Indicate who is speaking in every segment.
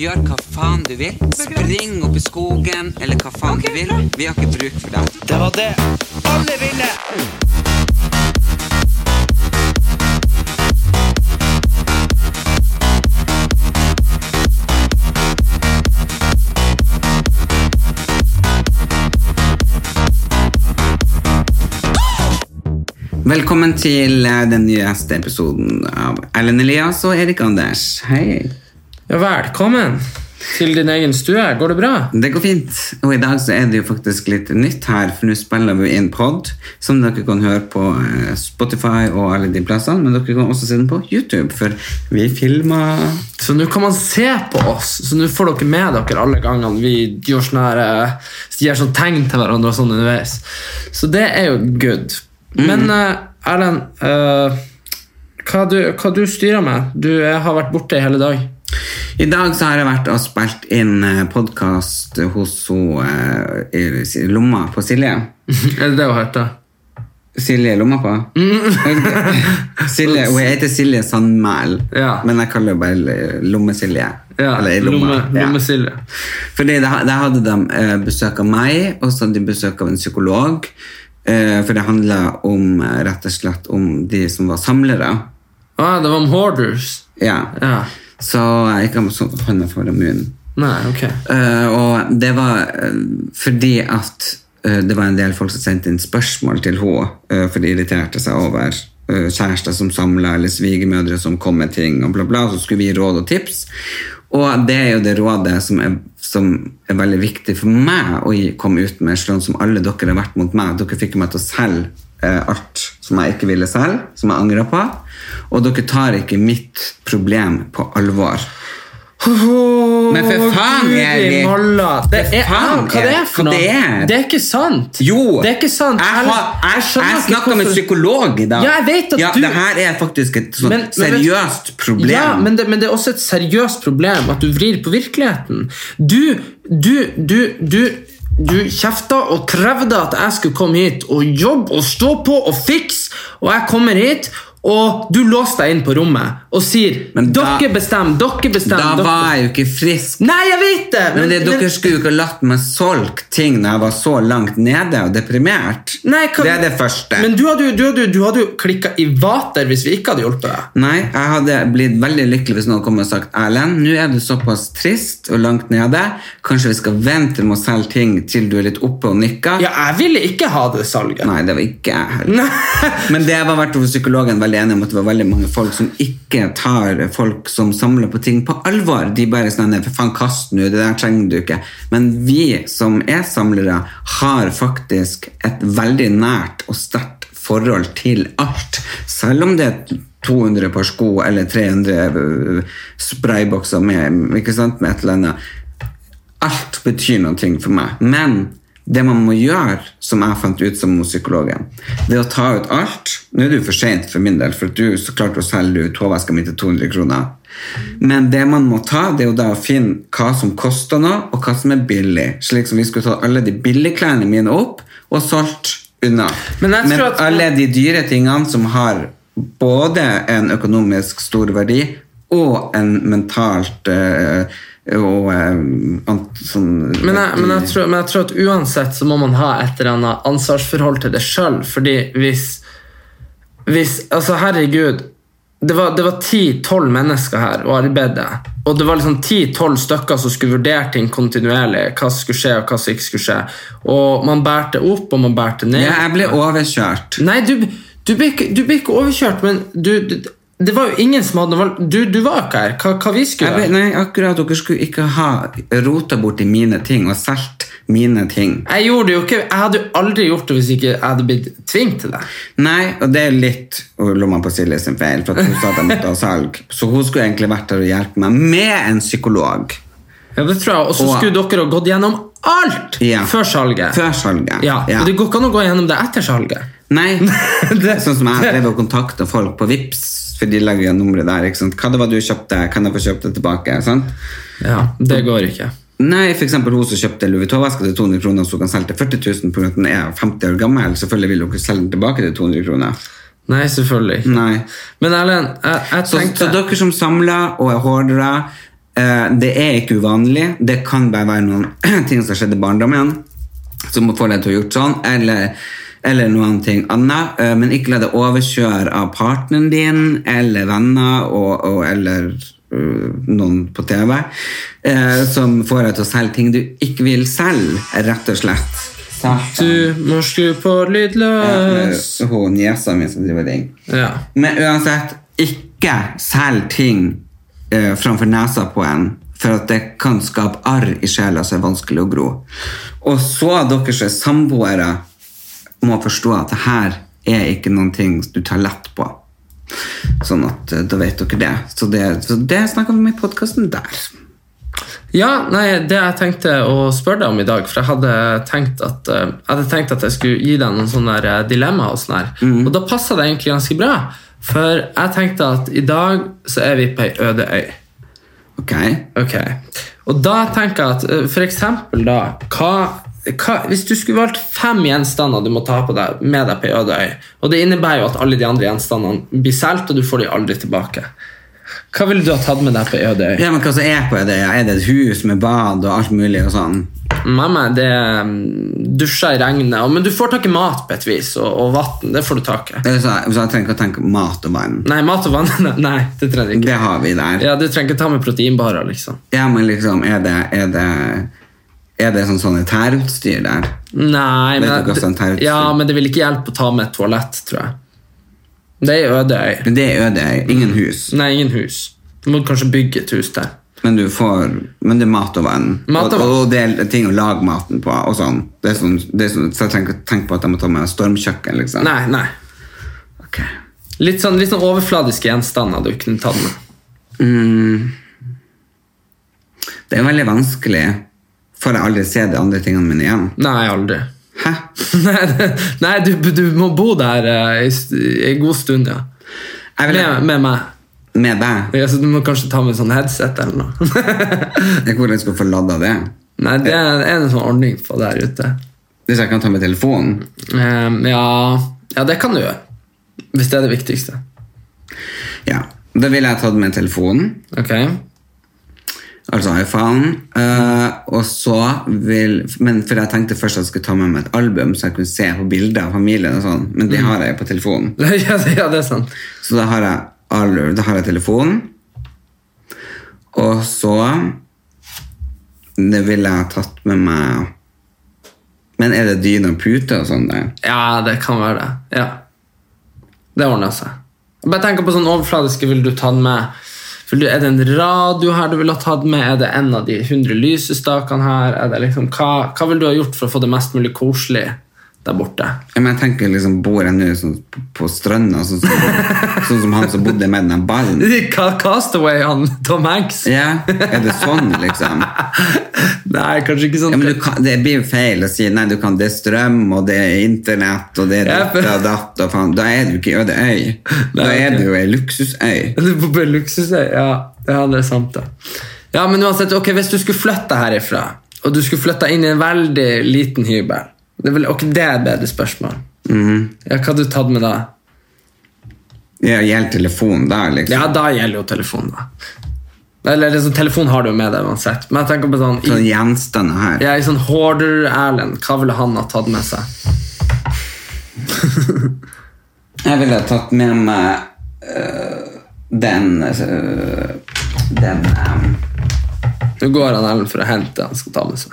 Speaker 1: Gjør hva faen du vil. Spring opp i skogen, eller hva faen du vil. Vi har ikke bruk for deg. Det var det alle ville! Velkommen til eh, den nyeste episoden av Erlend Elias og Erik Anders. Hei.
Speaker 2: Ja, velkommen til din egen stue. Går det bra?
Speaker 1: Det går fint. Og i dag så er det jo faktisk litt nytt her, for nå spiller vi inn pod, som dere kan høre på eh, Spotify og alle de plassene, men dere kan også se den på YouTube, for vi filmer
Speaker 2: Så nå kan man se på oss, så nå får dere med dere alle gangene vi gjør sånne her, eh, gir sånn tegn til hverandre og sånn underveis. Så det er jo good. Men eh, Erlend, eh, hva, du, hva du styrer med? Du eh, har vært borte i hele dag.
Speaker 1: I dag så har jeg vært og spilt inn podkast hos hun eh, i lomma på Silje.
Speaker 2: er det det hun heter?
Speaker 1: Silje i lomma på?
Speaker 2: Mm.
Speaker 1: Silje, hun heter Silje Sandmæl,
Speaker 2: Ja.
Speaker 1: men jeg kaller henne bare Lomme-Silje.
Speaker 2: Ja,
Speaker 1: Eller i lomma.
Speaker 2: Lomme,
Speaker 1: Ja.
Speaker 2: lomme Silje.
Speaker 1: Fordi der, der hadde de eh, besøk av meg, og så hadde de besøk av en psykolog. Eh, for det handla om, eh, rett og slett om de som var samlere.
Speaker 2: Ah, det var om hoarders.
Speaker 1: Ja.
Speaker 2: Ja.
Speaker 1: Så jeg ikke har sånn hånda foran munnen.
Speaker 2: Nei, ok.
Speaker 1: Eh, og det var eh, fordi at eh, det var en del folk som sendte inn spørsmål til henne, eh, for de irriterte seg over eh, kjærester som samla, eller svigermødre som kom med ting, og bla, bla. Så skulle vi gi råd og tips. Og det er jo det rådet som er, som er veldig viktig for meg å gi- komme ut med, sånn som alle dere har vært mot meg. Dere fikk meg til å selge eh, alt som jeg ikke ville selge, som jeg angrer på. Og dere tar ikke mitt problem på alvor. Men for faen, Erik.
Speaker 2: Det er,
Speaker 1: For faen,
Speaker 2: hva det er
Speaker 1: Erik,
Speaker 2: for noe?
Speaker 1: det er-
Speaker 2: Det er ikke sant.
Speaker 1: Jo!
Speaker 2: Det er ikke sant.
Speaker 1: Jeg, har- jeg, jeg,
Speaker 2: skjønner ikke
Speaker 1: snakka med
Speaker 2: hvorfor-
Speaker 1: psykolog i dag.
Speaker 2: Ja, jeg vet at
Speaker 1: ja,
Speaker 2: du-
Speaker 1: Det her er faktisk et sånt
Speaker 2: Men- men-
Speaker 1: seriøst problem.
Speaker 2: Ja, men det, men det er også et seriøst problem at du vrir på virkeligheten. Du, du, du, du du kjefta og krevde at jeg skulle komme hit og jobbe og stå på og fikse, og jeg kommer hit, og du låser deg inn på rommet og sier
Speaker 1: Men da-
Speaker 2: Dere bestemmer, dere
Speaker 1: da
Speaker 2: bestemmer. dere-
Speaker 1: var jeg jo ikke frisk.
Speaker 2: Nei, jeg vet det!
Speaker 1: Men det, Dere skulle jo ikke latt meg solge ting når jeg var så langt nede og deprimert.
Speaker 2: Nei, hva-
Speaker 1: Det er det første.
Speaker 2: Men du hadde jo, du hadde, jo- du hadde jo klikka i vater hvis vi ikke hadde hjulpet deg.
Speaker 1: Nei, jeg hadde blitt veldig lykkelig hvis noen kom og sagt Erlend, nå er du såpass trist og langt nede. Kanskje vi skal vente med å selge ting til du er litt oppe og nikker?
Speaker 2: Ja, jeg ville ikke ha det salget.
Speaker 1: Nei, det var ikke jeg heller.
Speaker 2: Nei.
Speaker 1: Men det var vært psykologen veldig enig om at det var veldig mange folk som ikke tar folk som samler på ting på alvor. De bare sånn «Nei, for faen, kast nå, det der trenger du ikke. Men vi som er samlere, har faktisk et veldig nært og sterkt forhold til alt. Selv om det er 200 par sko eller 300 spraybokser med, ikke sant, med et eller annet. Alt betyr noe for meg. Men det man må gjøre, som jeg fant ut som hos psykologen, det er å ta ut alt. Nå er det jo for sent for min del, for at du så klarte å selge ut hårveska mi til 200 kroner. Men det man må ta, det er jo da å finne hva som koster noe, og hva som er billig. Slik som vi skulle ta alle de billige klærne mine opp og solgt unna.
Speaker 2: Men jeg tror at-
Speaker 1: alle de dyre tingene som har både en økonomisk stor verdi og en mentalt eh, og eh, ant, sånn,
Speaker 2: Men jeg, men, jeg tror, men jeg tror at uansett så må man ha et eller annet ansvarsforhold til det sjøl. Fordi hvis, hvis Altså, herregud. Det var, det var 10-12 mennesker her og arbeidet. Og det var liksom 10-12 stykker som skulle vurdere ting kontinuerlig. Hva som skulle skje, og hva som ikke skulle skje. Og man bærte opp, og man bærte ned.
Speaker 1: ja, Jeg ble overkjørt.
Speaker 2: Nei, du, du, ble, ikke, du ble ikke overkjørt, men du, du Det var jo ingen som hadde valgt Du, du var ikke her. Hva, hva vi
Speaker 1: Jeg
Speaker 2: skulle
Speaker 1: ble,
Speaker 2: gjøre?
Speaker 1: nei, akkurat Dere skulle ikke ha rota borti mine ting og solgt mine ting.
Speaker 2: Jeg gjorde det jo ikke Jeg hadde jo aldri gjort det hvis ikke jeg hadde blitt tvunget til det.
Speaker 1: Nei, og det er litt og lomma på Silje sin feil, for at hun sa at jeg måtte ha salg. Så hun skulle egentlig vært der og hjulpet meg med en psykolog.
Speaker 2: Ja, det tror jeg. Og så
Speaker 1: Og-
Speaker 2: skulle dere ha gått gjennom alt
Speaker 1: Ja.
Speaker 2: før salget.
Speaker 1: Før salget.
Speaker 2: Ja.
Speaker 1: Ja.
Speaker 2: og Det går ikke an å gå gjennom det etter salget.
Speaker 1: Nei, det er sånn som jeg drev og kontakta folk på Vips for de legger jo nummeret der. ikke sant? Hva det var du kjøpte? Kan jeg få kjøpt det tilbake? sant?
Speaker 2: Ja, Det går ikke.
Speaker 1: Nei, for eksempel hun som kjøpte Louis Vuitton-veska til 200 kroner, så hun kan selge til 40 000 pga. at den er 50 år gammel. Selvfølgelig vil hun ikke selge den tilbake til 200 kroner.
Speaker 2: Nei, selvfølgelig ikke.
Speaker 1: Nei.
Speaker 2: Men Erlend, jeg, jeg
Speaker 1: Så,
Speaker 2: tenkte
Speaker 1: så dere som samler og er hoardere, eh, det er ikke uvanlig. Det kan bare være noen ting som skjedde i barndommen som får deg til å ha gjort sånn, eller, eller noen ting annet. Eh, men ikke la deg overkjøre av partneren din eller venner og, og, eller eh, noen på TV eh, som får deg til å selge ting du ikke vil selge, rett og slett.
Speaker 2: Du må skru på
Speaker 1: Eh,
Speaker 2: lydløs
Speaker 1: Hun niesa mi som driver og ringer.
Speaker 2: Ja.
Speaker 1: Men uansett, ikke selg ting eh, framfor nesa på en, for at det kan skape arr i sjela som er vanskelig å gro. Og så dere som er samboere, må forstå at det her er ikke noen ting du tar lett på. Sånn at eh, da vet dere det. Så det, så det snakker vi om i podkasten der.
Speaker 2: ja, nei, det jeg tenkte å spørre deg om i dag For jeg hadde tenkt at eh, Jeg hadde tenkt at jeg skulle gi deg noen sånne der, eh, dilemmaer. Og sånne her. Og da passa det egentlig ganske bra. For jeg tenkte at i dag så er vi på ei øde øy.
Speaker 1: Ok?
Speaker 2: Ok. Og da tenker jeg at eh, for eksempel da hva, hva, Hvis du skulle valgt fem gjenstander du må ta på deg, med deg på ei øde øy, og det innebærer jo at alle de andre gjenstandene blir solgt, og du får de aldri tilbake, hva ville du ha tatt med deg på ei øde øy?
Speaker 1: Ja, men hva som er på det? Er det et hus med bad og alt mulig og sånn?
Speaker 2: Nei, nei, det er mm, dusjer i regnet, og- men du får tak i mat på et vis, og, og vann. Det får du tak i.
Speaker 1: Eller Så, så jeg trenger ikke å tenke mat og vann.
Speaker 2: Nei, mat og vann nei, Nei, det trenger du ikke.
Speaker 1: Det har vi der.
Speaker 2: Ja, Du trenger ikke ta med proteinbarer, liksom.
Speaker 1: Ja, men liksom, er det, er det, er det sånn sanitærutstyr der?
Speaker 2: Nei,
Speaker 1: Vet du hva som tar
Speaker 2: men,
Speaker 1: ut-
Speaker 2: ja, men det vil ikke hjelpe å ta med et toalett, tror jeg. Det er ei øde øy.
Speaker 1: Men Det er øde, ingen hus,
Speaker 2: Nei, ingen hus. Du må kanskje bygge et hus der.
Speaker 1: men, du får, men det er mat og vann.
Speaker 2: Mat og vann.
Speaker 1: Og, og det er ting å lage maten på, og sånn. Det er sånn, det er sånn så jeg trenger ikke tenke på at jeg må ta med stormkjøkken, liksom.
Speaker 2: Nei, nei.
Speaker 1: Ok.
Speaker 2: Litt sånn, litt sånn overfladiske gjenstander du kunne tatt med.
Speaker 1: Det er veldig vanskelig, for jeg aldri ser de andre tingene mine igjen.
Speaker 2: Nei, aldri.
Speaker 1: Hæ?
Speaker 2: Nei, det- nei du, du må bo der eh, i st- i en god stund, ja.
Speaker 1: Jeg vil,
Speaker 2: Med, med meg.
Speaker 1: med deg,
Speaker 2: Ja, så du må kanskje ta med sånn headset eller noe.
Speaker 1: jeg hvor jeg skal få ladda det.
Speaker 2: Nei, det er en sånn ordning på der ute.
Speaker 1: Hvis jeg kan ta med telefonen.
Speaker 2: Ehm, ja, ja, det kan du gjøre. Hvis det er det viktigste.
Speaker 1: Ja, da vil jeg ta med telefonen.
Speaker 2: Ok?
Speaker 1: Altså iPhone. eh, og så vil Men for jeg tenkte først at jeg skulle ta med meg et album, så jeg kunne se på bilder av familien. og sånn Men det har jeg jo på telefonen.
Speaker 2: Ja, det- ja, det er sant.
Speaker 1: Så da har jeg, al- da har jeg telefonen. Og så Det ville jeg tatt med meg Men er det dyne og pute og sånn der?
Speaker 2: Ja, det kan være det. Ja. Det ordner seg. Bare tenk på sånn overfladiske vil du ta med vil du, Er det en radio her du ville ha tatt med? Er det en av de 100 lysestakene her? Er det liksom, hva, hva vil du ha gjort for å få det mest mulig koselig der borte?
Speaker 1: Ja, men jeg tenker liksom Bor jeg nå sånn på- på stranda, sånn, som- sånn som han som bodde med den ballen?
Speaker 2: Ka- Castaway, han Tom Hanks.
Speaker 1: Ja, Er det sånn, liksom?
Speaker 2: Nei, kanskje ikke sånn.
Speaker 1: Ja, men du kan, det blir jo feil å si nei, du kan, det er strøm, og det er internett, og det er
Speaker 2: Ja,
Speaker 1: ditt
Speaker 2: for-
Speaker 1: og datt, og faen. Da er du ikke i øde øy. Da
Speaker 2: Nei,
Speaker 1: er
Speaker 2: ok.
Speaker 1: du jo ei luksusøy.
Speaker 2: Du bor på en luksusøy. Ja, ja, det er sant, det. Ja, men uansett, ok, Hvis du skulle flytte herifra, og du skulle flytte inn i en veldig liten hybel det er, vel, ok, det er et bedre spørsmål. Ja, Hva hadde du tatt med da?
Speaker 1: Ja, Gjelder telefonen da, liksom?
Speaker 2: Ja, da gjelder jo telefonen, da. Eller liksom, telefon har du jo med deg uansett. Men jeg tenker på sånn,
Speaker 1: Sånne
Speaker 2: i,
Speaker 1: gjenstander her.
Speaker 2: ja, i sånn Hoarder Erlend, hva ville han ha tatt med seg?
Speaker 1: Jeg ville ha tatt med meg øh, den øh, Den ehm,
Speaker 2: Nå går han Erlend for å hente det han skal ta med seg.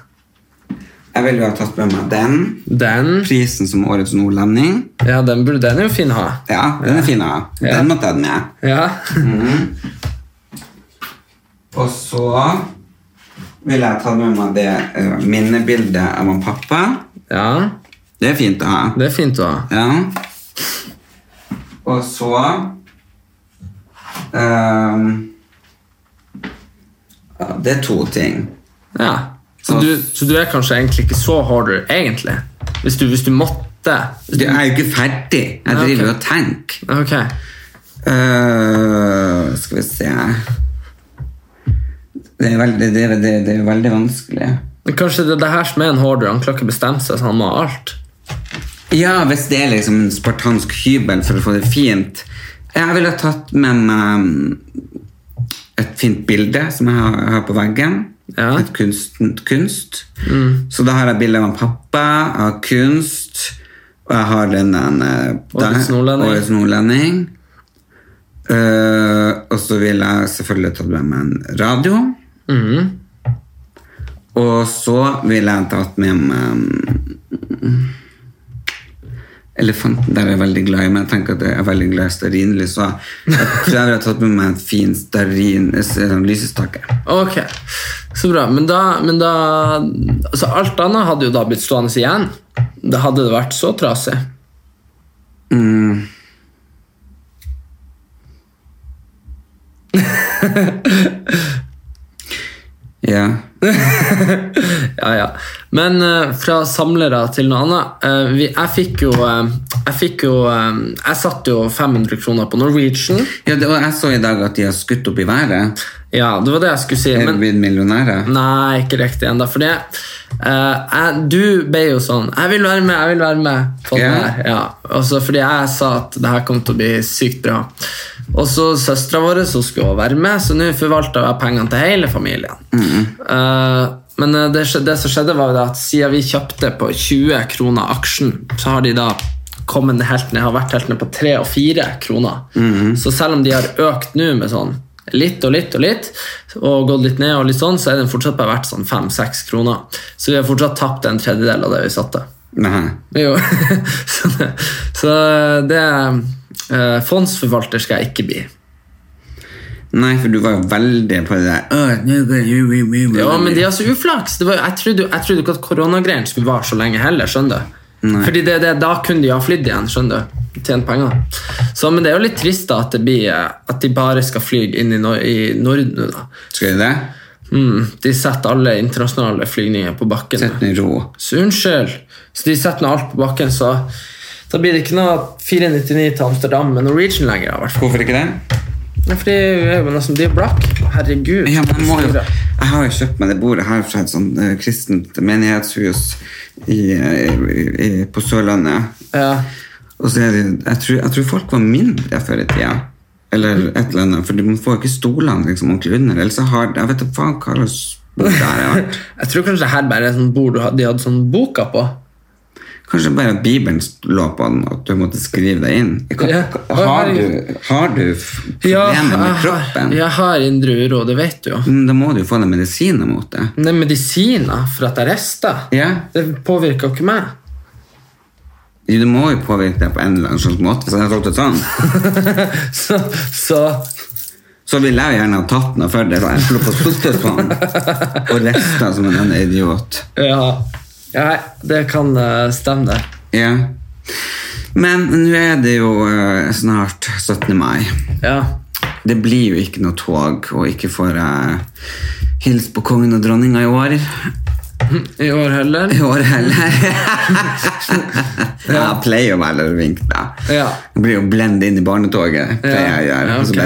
Speaker 1: Jeg ville jo ha tatt med meg den.
Speaker 2: Den
Speaker 1: Prisen som Årets nordlending.
Speaker 2: ja, den, burde- den er jo fin å ha.
Speaker 1: Ja, den er fin å ha.
Speaker 2: Ja.
Speaker 1: Den måtte jeg ha med.
Speaker 2: Ja.
Speaker 1: Og så ville jeg tatt med meg det eh, minnebildet av han pappa.
Speaker 2: Ja,
Speaker 1: Det er fint å ha.
Speaker 2: det er fint å ha.
Speaker 1: Ja. Og så ehm, ja, Det er to ting.
Speaker 2: Ja. Så, du, så du er kanskje egentlig ikke så hoarder, egentlig? Hvis du, hvis du måtte? Hvis
Speaker 1: Du
Speaker 2: du,
Speaker 1: er jo ikke ferdig. Jeg
Speaker 2: Ja, ok.
Speaker 1: driver jo og tenker.
Speaker 2: ok.
Speaker 1: Øh, skal vi se Det er veldig, det er, det er, det er veldig vanskelig.
Speaker 2: Men kanskje det er det her som er en hoarder? Han klarer ikke bestemme seg, så han må ha alt?
Speaker 1: Ja, hvis det er liksom en spartansk hybel for å få det fint. Jeg ville ha tatt med meg mm, et fint bilde som jeg har, har på veggen.
Speaker 2: Ja.
Speaker 1: Et kunst. kunst. Så da har jeg bilde av pappa, jeg har kunst, og jeg har den der eh,
Speaker 2: Årets nordlending.
Speaker 1: Årets nordlending. Eh, og så vil jeg selvfølgelig tatt med meg en radio.
Speaker 2: Mhm.
Speaker 1: Og så vil jeg tatt med meg mm, Elefanten der er jeg veldig glad i, men jeg tenker at jeg er veldig glad i stearinlys. Så jeg tror jeg ville tatt med meg en fin stearin eh, sånn lysestake.
Speaker 2: Ok, så bra. Men da, men da altså Alt annet hadde jo da blitt stående igjen. Da hadde det vært så trasig.
Speaker 1: Ja.
Speaker 2: Ja, ja. Men eh, fra samlere til noe annet. Eh, vi, jeg fikk jo eh, Jeg fikk jo eh, Jeg satte jo 500 kroner på Norwegian.
Speaker 1: ja det, og jeg så i dag at de har skutt opp i været.
Speaker 2: Ja, det var det jeg skulle si.
Speaker 1: Er de
Speaker 2: Men
Speaker 1: blitt millionærer?
Speaker 2: Nei, ikke riktig ennå. For det eh, jeg, Du ble jo sånn 'Jeg vil være med, jeg vil være med' på det
Speaker 1: Ja.
Speaker 2: her. Ja. Også fordi jeg sa at det her kom til å bli sykt bra. Og så søstera vår som skulle også være med, så nå forvalta jeg pengene til hele familien. Eh, men eh, det, skje- det som skjedde, var jo det at siden vi kjøpte på 20 kroner aksjen, så har de da kommet helt ned, har vært helt ned på 3 og 4 kroner. Så selv om de har økt nå med sånn litt og litt og litt, og gått litt ned og litt sånn, så er den fortsatt bare verdt sånn 5-6 kroner. Så vi har fortsatt tapt en tredjedel av det vi satte.
Speaker 1: Nei.
Speaker 2: Jo. så det, så det eh, Fondsforvalter skal jeg ikke bli.
Speaker 1: Nei, for du var jo veldig på det der «Åh, nå går jeg-
Speaker 2: Ja, men de har så uflaks. Det var, jeg, trodde, jo- jeg trodde ikke at koronagreiene skulle vare så lenge heller. skjønner du? Fordi det, det, Da kunne de ha flydd igjen. skjønner du? Tjent penger. Så, men det er jo litt trist da at, det blir, eh, at de bare skal fly inn i, Nor i Norden. nå, da.
Speaker 1: Skal du det?
Speaker 2: Mm, de setter alle internasjonale flygninger på bakken.
Speaker 1: Sett den i ro.
Speaker 2: Så unnskyld. Så de setter nå alt på bakken, så da blir det ikke noe 499 til Amsterdam med Norwegian lenger. i hvert fall.
Speaker 1: Hvorfor ikke det?
Speaker 2: Nei, Fordi vi er jo nesten de er blakk. Herregud.
Speaker 1: Ja, men jeg, må jo, jeg har jo kjøpt meg det bordet her fra et sånt eh, kristent menighetshus i, eh, i, i, på Sørlandet.
Speaker 2: Ja.
Speaker 1: Og så er det, jeg, tror, jeg tror folk var mindre før i tida. Eller et eller annet, for man får jo ikke stolene liksom, ordentlig under. Ellers så har jeg vet da faen hva slags bord det her har vært.
Speaker 2: Jeg tror kanskje det her bare er sånn bord du hadde- de hadde sånn boka på.
Speaker 1: Kanskje bare at Bibelen lå på den, at du måtte skrive deg inn. Hva-
Speaker 2: Ja.
Speaker 1: hva- Har du, har du f- problemer
Speaker 2: jeg
Speaker 1: med
Speaker 2: har-
Speaker 1: kroppen?
Speaker 2: Jeg har indre uro, det vet du jo.
Speaker 1: Mm, Da må du jo få deg medisiner mot det.
Speaker 2: Det er medisiner for at jeg rister.
Speaker 1: Ja.
Speaker 2: Det påvirker jo ikke meg.
Speaker 1: Jo, Du må jo påvirke deg på en eller annen slags måte. Hvis jeg hadde tatt det sånn
Speaker 2: Så, så
Speaker 1: så ville jeg jo gjerne ha tatt noe for det. Så jeg skulle på spottet på han og resta som en annen idiot.
Speaker 2: ja. Nei, det kan eh, stemme, det.
Speaker 1: Ja. Men nå er det jo eh, snart 17. mai.
Speaker 2: Ja.
Speaker 1: Det blir jo ikke noe tog, og ikke får jeg hilse på kongen og dronninga i år.
Speaker 2: I år heller.
Speaker 1: I år heller. ja, jeg pleier å være der og vinke, da.
Speaker 2: Ja.
Speaker 1: Jeg blir jo blendet inn i barnetoget, pleier jeg å gjøre.
Speaker 2: Ja,
Speaker 1: Og så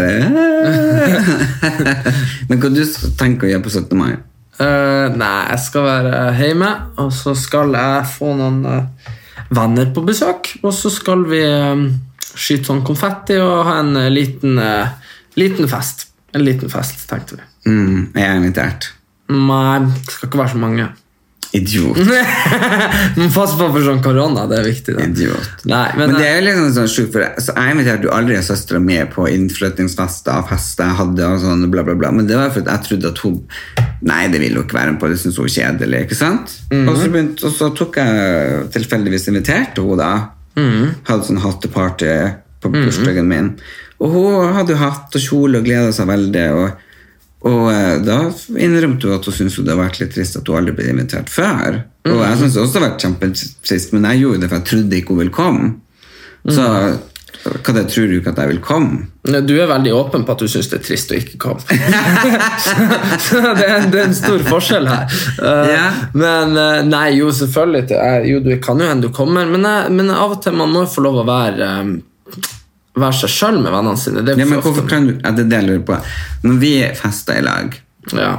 Speaker 1: bare Men hva du tenker å gjøre på 17. mai?
Speaker 2: Eh, nei, jeg skal være hjemme, og så skal jeg få noen eh, venner på besøk. Og så skal vi eh, skyte sånn konfetti og ha en eh, liten, eh, liten fest. En liten fest, tenkte vi.
Speaker 1: Mm, jeg er invitert.
Speaker 2: Nei, det skal ikke være så mange.
Speaker 1: Idiot.
Speaker 2: Men pass på for sånn korona, det er viktig. Da.
Speaker 1: Idiot.
Speaker 2: Nei, men,
Speaker 1: Men, det er jo liksom sånn sjukt, for jeg- så jeg inviterte jo aldri søstera mi på innflyttingsfester og fester jeg hadde og sånn, bla, bla, bla. Men det var fordi jeg trodde at hun Nei, det ville hun ikke være med på, det syntes hun var kjedelig. ikke sant? og, så begynte, og så tok jeg tilfeldigvis inviterte hun, da. Hadde sånn hatteparty på bursdagen min. Og hun hadde jo hatt og kjole og gleda seg veldig. og og eh, da innrømte hun at hun syntes jo det hadde vært litt trist at hun aldri ble invitert før. Og jeg syntes også det hadde vært kjempetrist, men jeg gjorde det for jeg trodde ikke hun ville komme. Så Hva det, tror du ikke at jeg vil komme?
Speaker 2: Du er veldig åpen på at du syns det er trist å ikke komme. så det er, det er en stor forskjell her. Eh,
Speaker 1: Ja.
Speaker 2: Men eh, nei, jo, selvfølgelig. til- eh, Jo, du kan jo hende du kommer, men, jeg, men av og til man må jo få lov å være eh, Være seg sjøl med vennene sine. Det er
Speaker 1: Ja, men
Speaker 2: for
Speaker 1: hvorfor
Speaker 2: ofte.
Speaker 1: kan du ja, Det er det jeg lurer på. Når vi fester i lag
Speaker 2: Ja.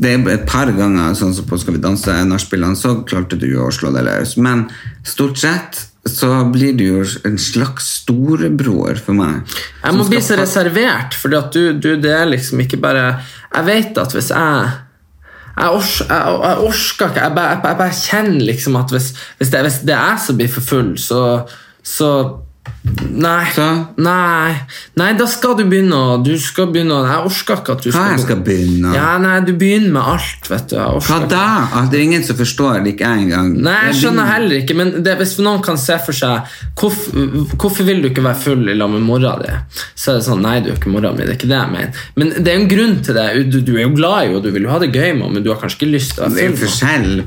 Speaker 1: Det er et par ganger sånn som på Skal vi danse nachspielene, så klarte du jo å slå deg løs. Men stort sett så blir du jo en slags storebror for meg.
Speaker 2: Jeg må bli så reservert, for du, du, det er liksom ikke bare Jeg vet at hvis jeg jeg, ors, jeg, jeg orsker ikke. Jeg bare, jeg, bare- jeg bare kjenner liksom at hvis, hvis, det, hvis det er jeg som blir for full, så, så Nei.
Speaker 1: Så?
Speaker 2: Nei. Nei, da skal du begynne å Du skal begynne å Jeg orsker ikke at du
Speaker 1: Hva jeg skal begynne?
Speaker 2: Ja, nei, du begynner med alt, vet du. Jeg orsker
Speaker 1: Hva
Speaker 2: ikke.
Speaker 1: da? At det er ingen som forstår det, ikke jeg engang.
Speaker 2: Nei, jeg
Speaker 1: Det er
Speaker 2: skjønner
Speaker 1: din-
Speaker 2: heller ikke, men det, hvis noen kan se for seg hvorf, Hvorfor vil du ikke være full i lag med mora di? Så er det sånn, nei, du er jo ikke mora mi, det er ikke det jeg mener. Men det er jo en grunn til det. Du, du er jo glad i henne, du vil jo ha det gøy med henne, men du har kanskje ikke lyst til å
Speaker 1: Det er
Speaker 2: være
Speaker 1: jo
Speaker 2: full. med henne.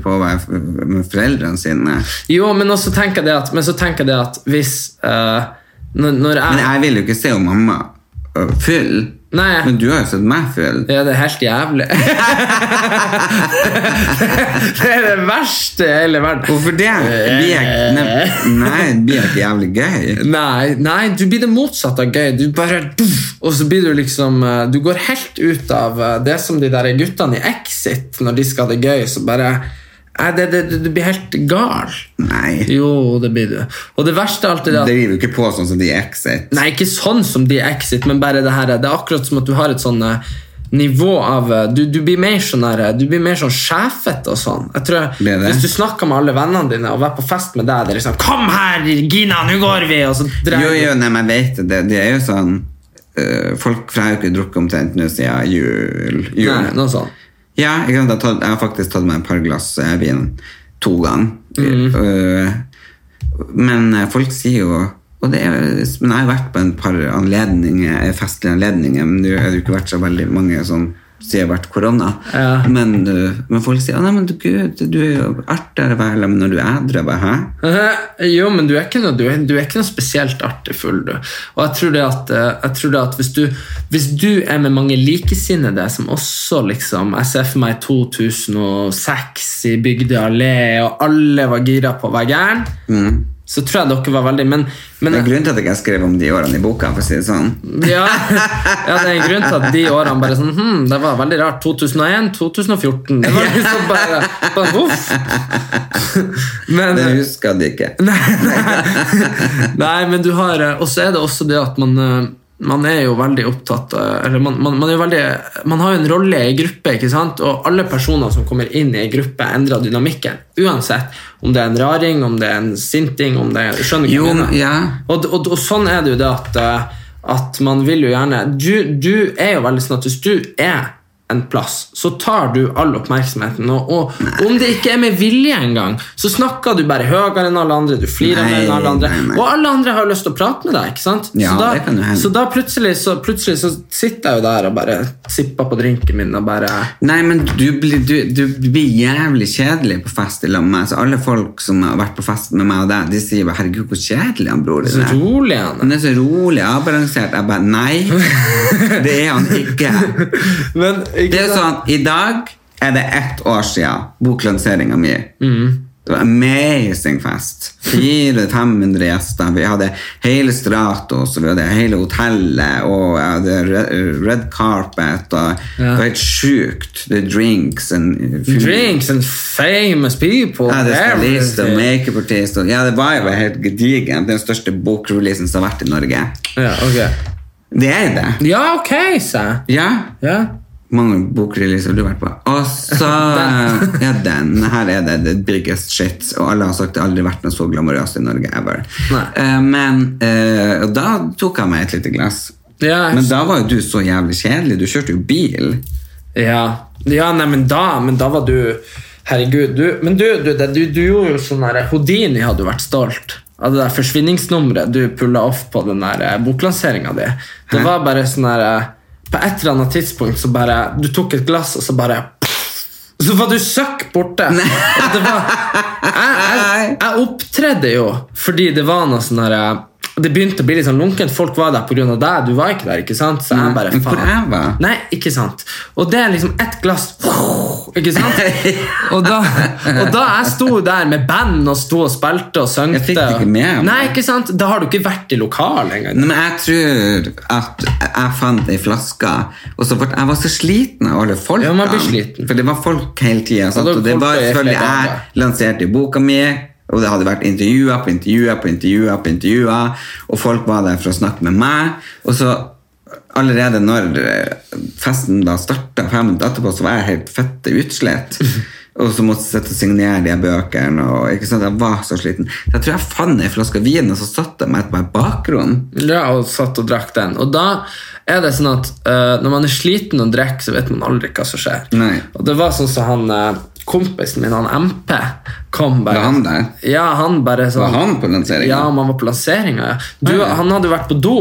Speaker 1: forskjell på å være f- med foreldrene sine.
Speaker 2: Jo, men også tenker jeg det at, men så tenker jeg det at hvis eh, når, når jeg,
Speaker 1: Men jeg vil jo ikke se om mamma ø, full.
Speaker 2: Nei.
Speaker 1: Men du har jo sett meg full.
Speaker 2: Ja, det er helt jævlig. det er det verste i hele verden.
Speaker 1: Hvorfor det? Blir jeg, nei, nei, det blir ikke jævlig gøy.
Speaker 2: Nei, nei, du blir det motsatte av gøy. Du bare duff, Og så blir du liksom eh, Du går helt ut av eh, det som de der guttene i Exit, når de skal ha det gøy, så bare Nei, det, det, det, du blir helt gal.
Speaker 1: Nei.
Speaker 2: Jo, det blir du. Og det verste av alt er det
Speaker 1: Det
Speaker 2: at
Speaker 1: driver jo ikke på sånn som de i Exit.
Speaker 2: Nei, ikke sånn som de i Exit, men bare det her Det er akkurat som at du har et sånn eh, nivå av eh, Du, du blir mer sånn her, eh, Du blir mer sånn sjefete og sånn. Jeg tror
Speaker 1: Blir det?
Speaker 2: Hvis du snakker med alle vennene dine og er på fest med deg, det er liksom 'Kom her, Gina, nå går vi!' Og så dreier
Speaker 1: Jo,
Speaker 2: du-
Speaker 1: jo, nei, men jeg vet det. Det er jo sånn ø, Folk for jeg har jo ikke drukket omtrent nå siden jul. jul.
Speaker 2: Nei, noe sånt.
Speaker 1: Ja, ikke sant? Jeg, har tatt, jeg har faktisk tatt meg et par glass eh, vin to ganger. Eh, men eh, folk sier jo og det er, Men jeg har vært på en par anledninger, eh, festlige anledninger, men det har jo ikke vært så veldig mange sånn siden det har vært korona.
Speaker 2: Ja.
Speaker 1: Men, eh, men folk sier «Å, nei, men du, gud, du er jo artigere å være sammen med når du er edru. Jeg bare, Hæ?
Speaker 2: Eh, Jo, men du er ikke noe, du er, du er ikke noe spesielt artig full, du. Og jeg tror det at, eh, jeg tror det at hvis, du, hvis du er med mange likesinnede som også liksom Jeg ser for meg 2006 i Bygdøy allé, og alle var gira på å være gæren. Så tror jeg dere var veldig Men, men
Speaker 1: Det er grunnen til at jeg ikke skrev om de årene i boka. for å si det sånn.
Speaker 2: ja, ja, det er en grunn til at de årene bare sånn hm, Det var veldig rart. 2001, 2014 Det var liksom bare, bare Uff! Men,
Speaker 1: Det
Speaker 2: eh,
Speaker 1: husker de ikke.
Speaker 2: Nei, men du har eh, Og så er det også det at man eh, man er jo veldig opptatt eh, eller man, man, man, er jo veldig, man har jo en rolle i gruppe, ikke sant? og alle personer som kommer inn i en gruppe, endrer dynamikken. Uansett om det er en raring, om det er en sinting om det er, Skjønner du hva
Speaker 1: Jo,
Speaker 2: jeg mener?
Speaker 1: ja.
Speaker 2: og, og, og sånn er det jo det at, eh, at man vil jo gjerne du, du er jo veldig sånn at hvis du er en plass, så tar du all oppmerksomheten. Og, og om det ikke er med vilje engang, så snakker du bare høyere enn alle andre. Du flirer mer
Speaker 1: Nei,
Speaker 2: enn alle andre.
Speaker 1: nei, nei.
Speaker 2: Og alle andre har jo lyst til å prate med deg. ikke sant?
Speaker 1: Ja,
Speaker 2: så da,
Speaker 1: det kan jo hende.
Speaker 2: så da plutselig så, plutselig så sitter jeg jo der og bare sipper på drinken min og bare
Speaker 1: Nei, men du blir, du, du blir jævlig kjedelig på fest i lag med meg. Så alle folk som har vært på fest med meg og deg, de sier bare 'herregud, hvor kjedelig han bror din
Speaker 2: Så
Speaker 1: er'.
Speaker 2: rolig igjen.
Speaker 1: Han er så rolig avbalansert. Jeg bare nei, det er han ikke.
Speaker 2: Men
Speaker 1: Det
Speaker 2: ikke
Speaker 1: er jo sånn, I dag er det ett år siden boklanseringa mi. Det var amazing fest. 400-500 gjester. Vi hadde hele Stratos, og vi hadde hele hotellet, og jeg hadde re- red carpet. Og Det var helt sjukt. The drinks and
Speaker 2: sånn Drinks and famous people.
Speaker 1: Ja, det er stylist og
Speaker 2: everything.
Speaker 1: makeupartist. og- Ja, det var jo helt gedigent. Den største bokreleasen som har vært i Norge.
Speaker 2: ja, ok.
Speaker 1: Det er det.
Speaker 2: Ja, ok, sa jeg.
Speaker 1: Ja,
Speaker 2: Ja.
Speaker 1: mange bokreleaser har du vært på. Og så Ja, den. Her er det the biggest shit. Og alle har sagt det har aldri vært noe så glamorøst i Norge ever.
Speaker 2: Nei.
Speaker 1: Eh, men eh, og da tok jeg meg et lite glass.
Speaker 2: Ja,
Speaker 1: Men da var jo du så jævlig kjedelig. Du kjørte jo bil.
Speaker 2: Ja, ja nei, men da, men da var du Herregud, du Men du, du, det- du, du gjorde jo sånn der Houdini hadde jo vært stolt av det der forsvinningsnummeret du pulla off på den der boklanseringa di.
Speaker 1: Hæ?
Speaker 2: Det var bare sånn der eh, På et eller annet tidspunkt så bare Du tok et glass, og så bare så var du søkk borte! Og Det var, jeg, jeg, jeg opptredde jo fordi det var noe sånn her Og det begynte å bli litt sånn lunkent. Folk var der pga. deg, du var ikke der. ikke sant? Så jeg bare,
Speaker 1: Men hvor
Speaker 2: faen.
Speaker 1: jeg var?
Speaker 2: Nei, ikke sant. Og det er liksom ett glass Ikke sant? Og da, og da jeg sto der med band og sto og spilte og søngte
Speaker 1: Jeg fikk det ikke med meg.
Speaker 2: Nei, ikke sant? Da har du ikke vært i lokalet engang.
Speaker 1: Nei, men jeg tror at jeg fant ei flaske, og så ble jeg var så sliten av alle folkene.
Speaker 2: Ja, man blir sliten.
Speaker 1: For det var folk hele tida.
Speaker 2: Ja, da
Speaker 1: Og det
Speaker 2: folk
Speaker 1: var
Speaker 2: er
Speaker 1: selvfølgelig
Speaker 2: flere
Speaker 1: jeg
Speaker 2: dager.
Speaker 1: lanserte jo boka mi, og det hadde vært intervjuer på intervjuer på intervjuer, på intervjuer og folk var der for å snakke med meg. Og så allerede når eh, festen da starta fem minutter etterpå, så var jeg helt fette utslett. Og så måtte jeg sitte og signere de her bøkene. Og, ikke sant? Jeg var så sliten. Så jeg tror jeg fant ei flaske vin, og så satte jeg meg på et bakrom.
Speaker 2: Ja, og satt og drakk den. Og da er det sånn at eh, når man er sliten og drikker, så vet man aldri hva som skjer.
Speaker 1: Nei.
Speaker 2: Og det var sånn som han eh, kompisen min, han MP, kom bare
Speaker 1: Var han der?
Speaker 2: Ja, han bare sånn
Speaker 1: Var han på lanseringen?
Speaker 2: Ja, om han var på lanseringa. Ja. Du,
Speaker 1: Nei.
Speaker 2: Han hadde vært på do.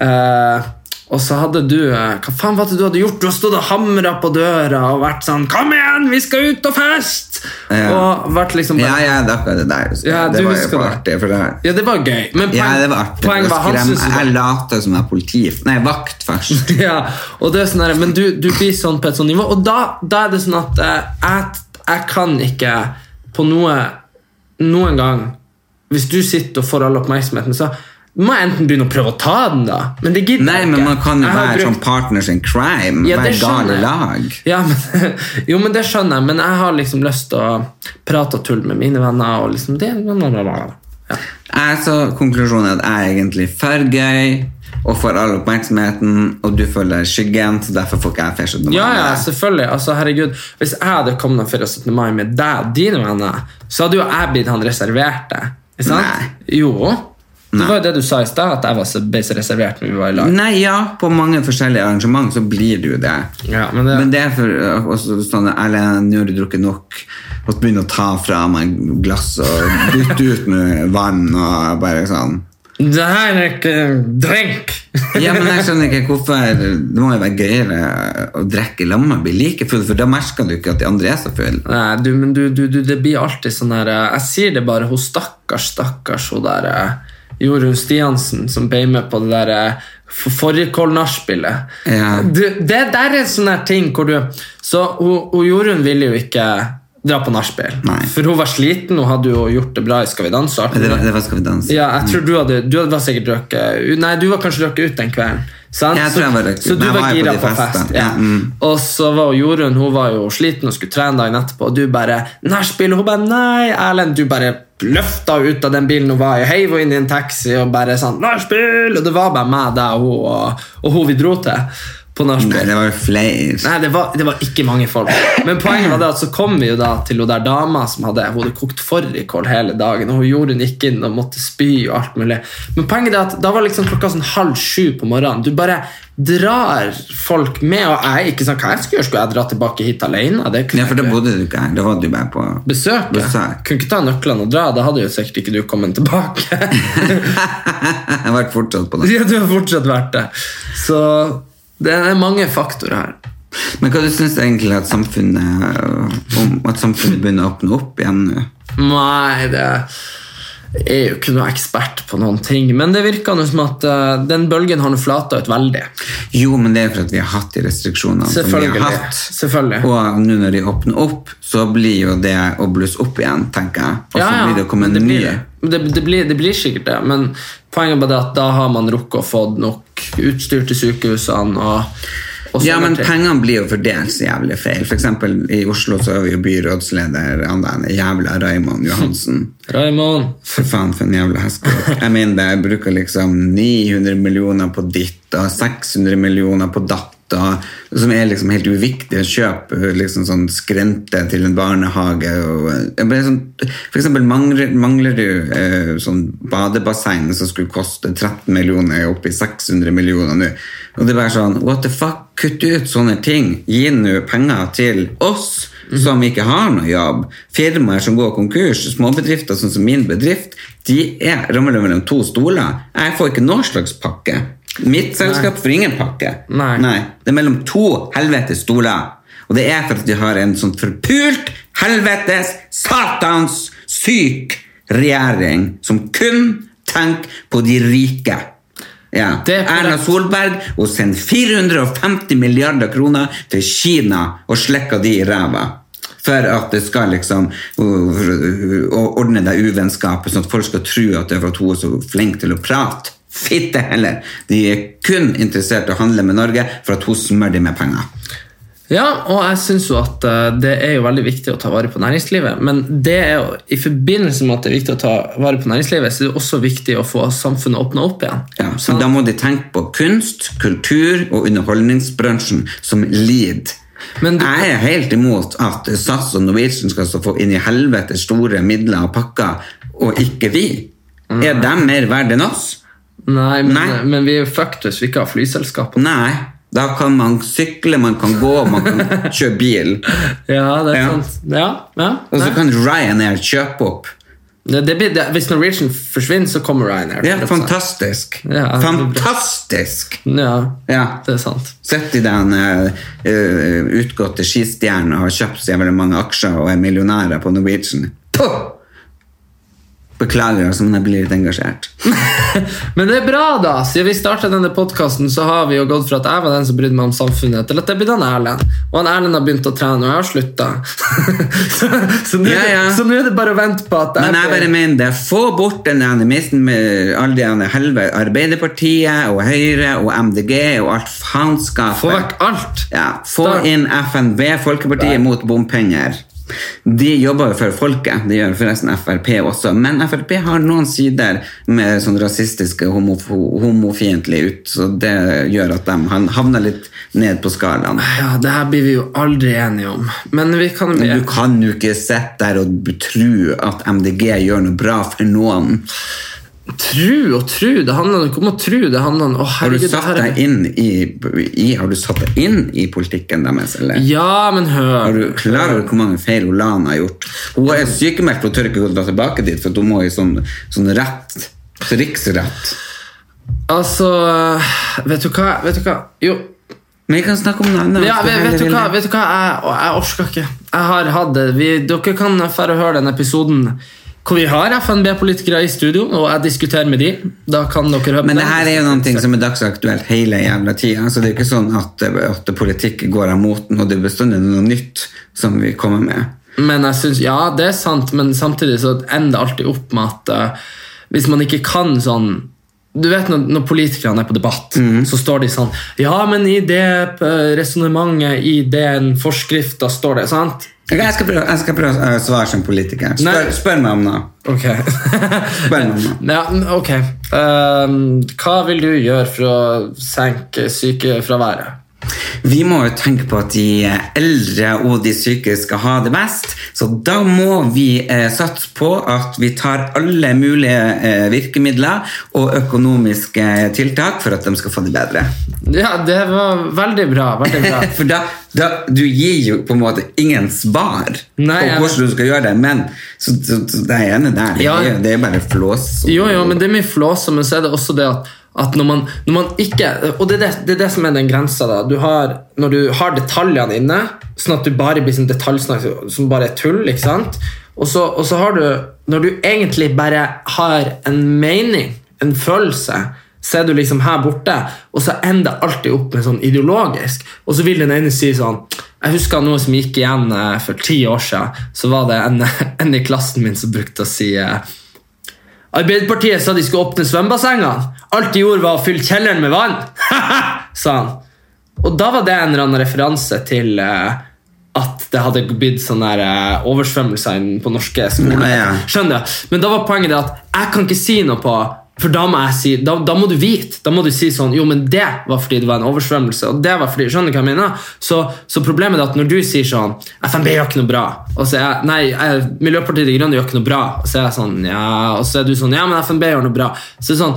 Speaker 2: eh, og så hadde du eh, Hva faen var det du hadde gjort? Du har stått og hamra på døra og vært sånn 'Kom igjen, vi skal ut og feste!'
Speaker 1: Ja.
Speaker 2: Og vært liksom bare,
Speaker 1: Ja, ja, det er akkurat det der.
Speaker 2: Ja,
Speaker 1: det
Speaker 2: du
Speaker 1: var jo
Speaker 2: husker
Speaker 1: for
Speaker 2: det.
Speaker 1: artig. For det.
Speaker 2: Ja, det var gøy. Men
Speaker 1: Ja,
Speaker 2: poeng-
Speaker 1: det var artig.
Speaker 2: poenget var han syntes jo det-
Speaker 1: jeg lata som jeg var politi Nei, vakt først.
Speaker 2: Ja, og det er sånn der, men du, du blir sånn på et sånt nivå, og da, da er det sånn at eh, jeg, jeg kan ikke på noe noen gang Hvis du sitter og får all oppmerksomheten, så må jeg enten begynne å prøve å ta den, da. Men det gidder
Speaker 1: Nei,
Speaker 2: jeg
Speaker 1: men
Speaker 2: ikke.
Speaker 1: man kan jo
Speaker 2: Jeg har
Speaker 1: være
Speaker 2: brukt-
Speaker 1: sånn partners in crime.
Speaker 2: Ja,
Speaker 1: være
Speaker 2: det
Speaker 1: gal i
Speaker 2: skjønner jeg.
Speaker 1: lag.
Speaker 2: ja, men, Jo, men det skjønner jeg, men jeg har liksom lyst til å prate og tulle med mine venner. Og liksom det, ja.
Speaker 1: Jeg så konklusjonen er at jeg er egentlig for gøy og får all oppmerksomheten, og du føler deg i skyggen, så derfor får ikke jeg ferskt noe
Speaker 2: Ja,
Speaker 1: med
Speaker 2: ja,
Speaker 1: det.
Speaker 2: selvfølgelig. Altså, herregud, Hvis jeg hadde kommet for 17. mai med deg, dine venner, så hadde jo jeg blitt han reserverte. Ikke sant?
Speaker 1: Nei.
Speaker 2: Jo. Det var jo det du sa i stad, at jeg var så ble så reservert når vi var i lag.
Speaker 1: Nei, ja, på mange forskjellige arrangement så blir du det.
Speaker 2: Ja, men det-
Speaker 1: men det er for øh, også sånn Erlend, nå har du drukket nok. Og begynne å ta fra meg glass og bytte ut med vann og bare sånn.
Speaker 2: Det her er ikke drink!
Speaker 1: Ja, men jeg skjønner ikke hvorfor Det må jo være gøyere å drikke i lag med og bli like full, for da merker du ikke at de andre er så fulle.
Speaker 2: Nei, du, men du, du, du, det blir alltid sånn her eh, Jeg sier det bare, hun stakkars, stakkars, hun der eh, Jorunn Stiansen som ble med på det der eh, for- Fårikål-nachspielet.
Speaker 1: Ja.
Speaker 2: Du, Det der er sånne her ting hvor du Så hun, hun Jorunn ville jo ikke dra på nachspiel,
Speaker 1: Nei.
Speaker 2: for hun var sliten, hun hadde jo gjort det bra i Skal vi danse. og alt
Speaker 1: Men Det
Speaker 2: mulig.
Speaker 1: var, det var Skal vi danse.
Speaker 2: Ja, jeg tror du hadde, du hadde var sikkert drukket ut- Nei, du var kanskje drukket ut den kvelden. sant?
Speaker 1: Jeg tror jeg var drukket ut,
Speaker 2: så, så du
Speaker 1: men jeg
Speaker 2: var,
Speaker 1: var jo på
Speaker 2: gira
Speaker 1: de
Speaker 2: på fest.
Speaker 1: festene.
Speaker 2: Ja.
Speaker 1: Ja, mm.
Speaker 2: Og så var jo Jorunn hun var jo sliten og skulle trene dagen etterpå, og du bare Nachspiel! Hun bare Nei, Erlend! Du bare løfta henne ut av den bilen hun var i, heiv henne inn i en taxi og bare sånn Nachspiel! Og det var bare meg, deg og hun, og, og hun vi dro til på
Speaker 1: Nei,
Speaker 2: nachspiel.
Speaker 1: det var jo flere.
Speaker 2: Nei, det var, det var ikke mange folk. Men poenget var det at så kom vi jo da til hun der dama som hadde, hun hadde kokt fårikål hele dagen, og hun Jorunn gikk inn og måtte spy og alt mulig. Men poenget er at da var liksom klokka sånn halv sju på morgenen. Du bare drar folk med, og jeg ikke sånn, hva jeg skulle gjøre, skulle jeg dra tilbake hit alene? Det
Speaker 1: Ja,
Speaker 2: kunne
Speaker 1: for da
Speaker 2: jeg ikke.
Speaker 1: bodde du ikke her. Da var du bare på
Speaker 2: Besøk, ja.
Speaker 1: Besøk.
Speaker 2: Kunne ikke ta nøklene og dra, da hadde jo sikkert ikke du kommet tilbake.
Speaker 1: Jeg var fortsatt på det.
Speaker 2: ja, du har fortsatt vært det. Så det er mange faktorer her.
Speaker 1: Men hva du syns egentlig at samfunnet øh, om at samfunnet begynner å åpne opp igjen nå?
Speaker 2: Nei, det jeg er jo ikke noe ekspert på noen ting, men det virker nå som at eh, den bølgen har nå flata ut veldig.
Speaker 1: Jo, men det er for at vi har hatt de restriksjonene som vi har
Speaker 2: Selvfølgelig.
Speaker 1: hatt.
Speaker 2: Selvfølgelig.
Speaker 1: Og nå når de åpner opp, så blir jo det å blusse opp igjen, tenker jeg. Og så blir det å komme
Speaker 2: men
Speaker 1: en ny.
Speaker 2: blir det. Det, det, blir, det blir sikkert det, men poenget er bare det at da har man rukket å få nok utstyr til sykehusene og, og
Speaker 1: Ja,
Speaker 2: sånne
Speaker 1: men
Speaker 2: ting.
Speaker 1: pengene blir jo fordelt så jævlig feil. For eksempel i Oslo så er vi jo byrådsleder han der jævla Raymond Johansen.
Speaker 2: Raymond,
Speaker 1: For faen, for en jævla hestkåk. Jeg mener, jeg bruker liksom 900 millioner på ditt og 600 millioner på datt. Og, som er liksom helt uviktige kjøp. Liksom sånn skrente til en barnehage. Og, jeg ble sånn, for eksempel mangler, mangler du eh, sånn badebasseng som skulle koste 13 millioner, er oppe i 600 millioner nå. Og det er bare sånn What the fuck? Kutt ut sånne ting. Gi nå penger til oss som ikke har noe jobb, firmaer som går konkurs, småbedrifter sånn som min bedrift, de er ramler mellom to stoler. Jeg får ikke noen slags pakke. Mitt selskap får ingen pakke.
Speaker 2: Nei.
Speaker 1: Det er mellom to helvetes stoler. Og det er for at de har en sånn forpult, helvetes, satans, syk regjering som kun Tenk på de rike. Ja.
Speaker 2: Det er korrekt.
Speaker 1: Erna Solberg hun sender 450 milliarder kroner til Kina og slekker de i ræva. For at det skal liksom uh, uh, ordne det uvennskapet, sånn at folk skal tro at det er for at hun er så flink til å prate. Fitte heller! De er kun interessert i å handle med Norge for at hun smører dem med penger.
Speaker 2: Ja, og jeg syns jo at eh, det er jo veldig viktig å ta vare på næringslivet. Men det er jo, i forbindelse med at det er viktig å ta vare på næringslivet, så er det også viktig å få samfunnet åpna opp igjen.
Speaker 1: Ja, så da må de tenke på kunst, kultur og underholdningsbransjen som lid.
Speaker 2: Men du-
Speaker 1: jeg er helt imot at SAS og Norwegian skal så få inn i helvete store midler og pakker, og ikke vi. Er de mer verdt enn oss?
Speaker 2: Nei, men,
Speaker 1: Nei.
Speaker 2: men vi er jo fucked hvis vi ikke har flyselskap.
Speaker 1: Nei. Da kan man sykle, man kan gå, man kan kjøre bil.
Speaker 2: Ja, det er
Speaker 1: Ja. Altså-
Speaker 2: sant. Ja, ja.
Speaker 1: Og så
Speaker 2: Nei.
Speaker 1: kan Ryanair kjøpe opp.
Speaker 2: Det, det blir, det, hvis Norwegian forsvinner, så kommer Ryanair.
Speaker 1: Det er fantastisk.
Speaker 2: Ja, det blir bra.
Speaker 1: Fantastisk!
Speaker 2: Ja,
Speaker 1: Ja.
Speaker 2: det er sant.
Speaker 1: Sett i den eh, eh, utgåtte skistjernen og har kjøpt så jævlig mange aksjer og er millionærer på Norwegian. Puh! Beklager, altså, men jeg blir litt engasjert.
Speaker 2: Men det er bra, da. Siden vi startet denne podcasten så har vi jo gått fra at jeg var den som brydde meg om samfunnet, til at det blir han Erlend. Og han Erlend har begynt å trene, og jeg har slutta. så så nå
Speaker 1: Ja, ja.
Speaker 2: så nå er det bare å vente på at
Speaker 1: Men jeg bare mener det. Få bort den animisten med alle de andre helve Arbeiderpartiet og Høyre og MDG og alt faenskapet.
Speaker 2: Få vekk alt.
Speaker 1: Ja, få
Speaker 2: Da-
Speaker 1: inn FNB, Folkepartiet mot bompenger. De jobber jo for folket, det gjør forresten Frp også. Men Frp har noen sider med sånn rasistiske, homof homofiendtlige ut, så det gjør at de han- havner litt ned på skalaen.
Speaker 2: Ja, det her blir vi jo aldri enige om. Men vi kan
Speaker 1: Men du kan jo ikke sitte der og tro at MDG gjør noe bra for noen.
Speaker 2: Tru og tru, det handler jo ikke om å tru. Det handler om å
Speaker 1: Har du
Speaker 2: herregud, det
Speaker 1: satt
Speaker 2: her
Speaker 1: deg
Speaker 2: er
Speaker 1: inn i, i, har du satt deg inn i politikken deres, eller?
Speaker 2: Ja, men
Speaker 1: Er
Speaker 2: hør.
Speaker 1: du klar over hvor mange feil Lana har gjort? Hun er sykemeldt og tør ikke gå dra tilbake dit, for hun må i sånn, sånn rett, så riksrett.
Speaker 2: Altså Vet du hva? Vet du hva? Jo.
Speaker 1: Men vi kan snakke om noe annet.
Speaker 2: Ja,
Speaker 1: hvis
Speaker 2: vet,
Speaker 1: heller
Speaker 2: vet, du
Speaker 1: vil
Speaker 2: hva,
Speaker 1: det.
Speaker 2: vet du hva? Jeg, og jeg orsker ikke. Jeg har hatt det. Vi, dere kan færre høre den episoden hvor vi har FNB-politikere i studio, og jeg diskuterer med de. Da kan dere høre på
Speaker 1: Men
Speaker 2: den.
Speaker 1: det her er jo noen ting som er dagsaktuelt hele jævla tida, så det er jo ikke sånn at, at politikk går av moten, og det er bestandig noe nytt som vi kommer med.
Speaker 2: Men jeg synes, ja, det er sant, men samtidig så ender det alltid opp med at eh, hvis man ikke kan sånn du vet Når, når politikerne er på debatt, så står de sånn Ja, men i det eh, resonnementet, i den forskrifta, står det sant?
Speaker 1: Ok, jeg skal prøve, jeg skal prøve å øh, svare som politiker. Spør,
Speaker 2: Nei.
Speaker 1: spør meg om noe.
Speaker 2: Ok.
Speaker 1: Spør meg om noe.
Speaker 2: ja, n- ok. Ehm, hva vil du gjøre for å senke sykefraværet?
Speaker 1: Vi må jo tenke på at de eldre og de syke skal ha det best, så da må vi eh, satse på at vi tar alle mulige eh, virkemidler og økonomiske tiltak for at de skal få det bedre.
Speaker 2: Ja, det var veldig bra. Veldig bra.
Speaker 1: For da, da, du gir jo på en måte ingen svar
Speaker 2: Nei, jeg
Speaker 1: på
Speaker 2: vet.
Speaker 1: hvordan du skal gjøre det, men så, så, så, det er jeg enig der. Det,
Speaker 2: Ja.
Speaker 1: er jo- det er bare flås. og-
Speaker 2: Jo, jo, men det er mye flåse, men så er det også det at, at når, man, når man ikke Og det er det, det er det som er den grensa. da. Du har, når du har detaljene inne, sånn at du bare blir sånn detaljsnakk som bare er tull, ikke sant? Og så, og så har du Når du egentlig bare har en mening, en følelse, så er du liksom her borte, og så ender det alltid opp med sånn ideologisk. Og så vil den ene si sånn Jeg husker noe som gikk igjen eh, for ti år siden. Så var det en, en i klassen min som brukte å si eh, Arbeiderpartiet sa de skulle åpne svømmebassengene. Alt de gjorde, var å fylle kjelleren med vann! sa han. Og da var det en eller annen referanse til eh, at det hadde blitt sånne der, eh, oversvømmelser inn på norske skoler.
Speaker 1: Ja, ja.
Speaker 2: Skjønner du? Men da var poenget det at jeg kan ikke si noe på for da må, jeg si, da, da må du vite. Da må du si sånn Jo, men det var fordi det var en oversvømmelse. Og det var fordi, skjønner du hva jeg mener? Så, så problemet er at når du sier sånn FNB gjør ikke noe bra. Og så er jeg Nei, jeg, Miljøpartiet De Grønne gjør ikke noe bra. Og så er jeg sånn Ja, og så er du sånn Ja, men FNB gjør noe bra. Så det er sånn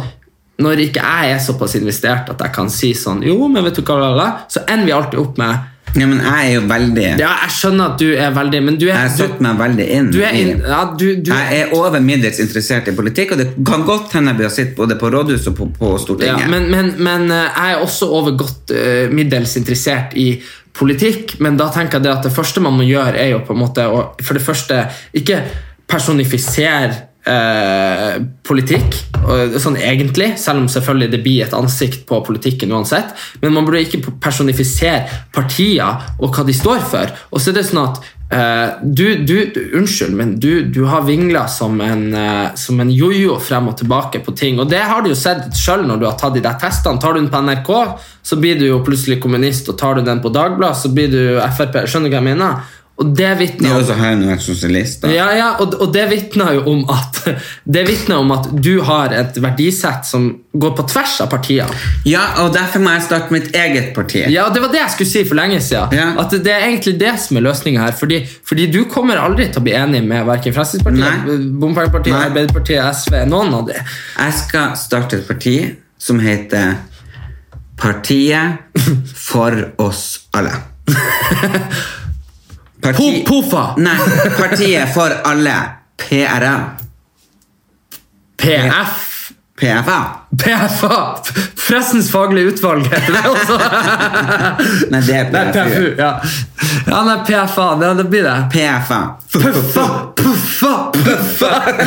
Speaker 2: Når ikke jeg er såpass investert at jeg kan si sånn Jo, men vet du hva, la, la, la», så ender vi alltid opp med
Speaker 1: Ja, men jeg er jo veldig
Speaker 2: Ja, jeg skjønner at du er veldig Men du er
Speaker 1: Jeg
Speaker 2: du,
Speaker 1: satte meg veldig inn.
Speaker 2: du er
Speaker 1: i-
Speaker 2: inn- ja, du- du-
Speaker 1: jeg er over middels interessert i politikk, og det kan godt hende jeg blir å sitte både på rådhuset og på, på Stortinget.
Speaker 2: Ja, men, men, men eh, jeg er også over godt eh, middels interessert i politikk, men da tenker jeg det at det første man må gjøre, er jo på en måte å for det første ikke personifisere eh, politikk, og sånn egentlig, selv om selvfølgelig det blir et ansikt på politikken uansett, men man burde ikke personifisere partier og hva de står for. Og så er det sånn at eh, du, du, du- Unnskyld, men du, du har vingla som en eh, Som en jojo frem og tilbake på ting, og det har du jo sett sjøl når du har tatt de der testene. Tar du den på NRK, så blir du jo plutselig kommunist, og tar du den på Dagbladet, så blir du Frp. Skjønner du hva jeg mener? Og det vitner
Speaker 1: Ja, og så har jeg nå vært sosialist, da.
Speaker 2: ja, ja, og, og det vitner jo om at Det vitner om at du har et verdisett som går på tvers av partier.
Speaker 1: Ja, og derfor må jeg starte mitt eget parti.
Speaker 2: Ja, og Det var det jeg skulle si for lenge siden.
Speaker 1: Ja.
Speaker 2: At Det er egentlig det som er løsninga her. Fordi, fordi du kommer aldri til å bli enig med verken
Speaker 1: Nei.
Speaker 2: Fremskrittspartiet, Bompengepartiet,
Speaker 1: Nei.
Speaker 2: Arbeiderpartiet, SV, noen av de.
Speaker 1: Jeg skal starte et parti som heter Partiet for oss alle. Parti-
Speaker 2: Po- pofa!
Speaker 1: Nei, Partiet for alle. PRA.
Speaker 2: PF.
Speaker 1: PFA.
Speaker 2: PFA! Pressens faglige utvalg heter det også.
Speaker 1: Nei, det
Speaker 2: Nei,
Speaker 1: er
Speaker 2: PFU.
Speaker 1: PFU.
Speaker 2: Ja, ja nei, PFA. Ja, det blir det.
Speaker 1: PFA.
Speaker 2: Puffa, puffa, puffa!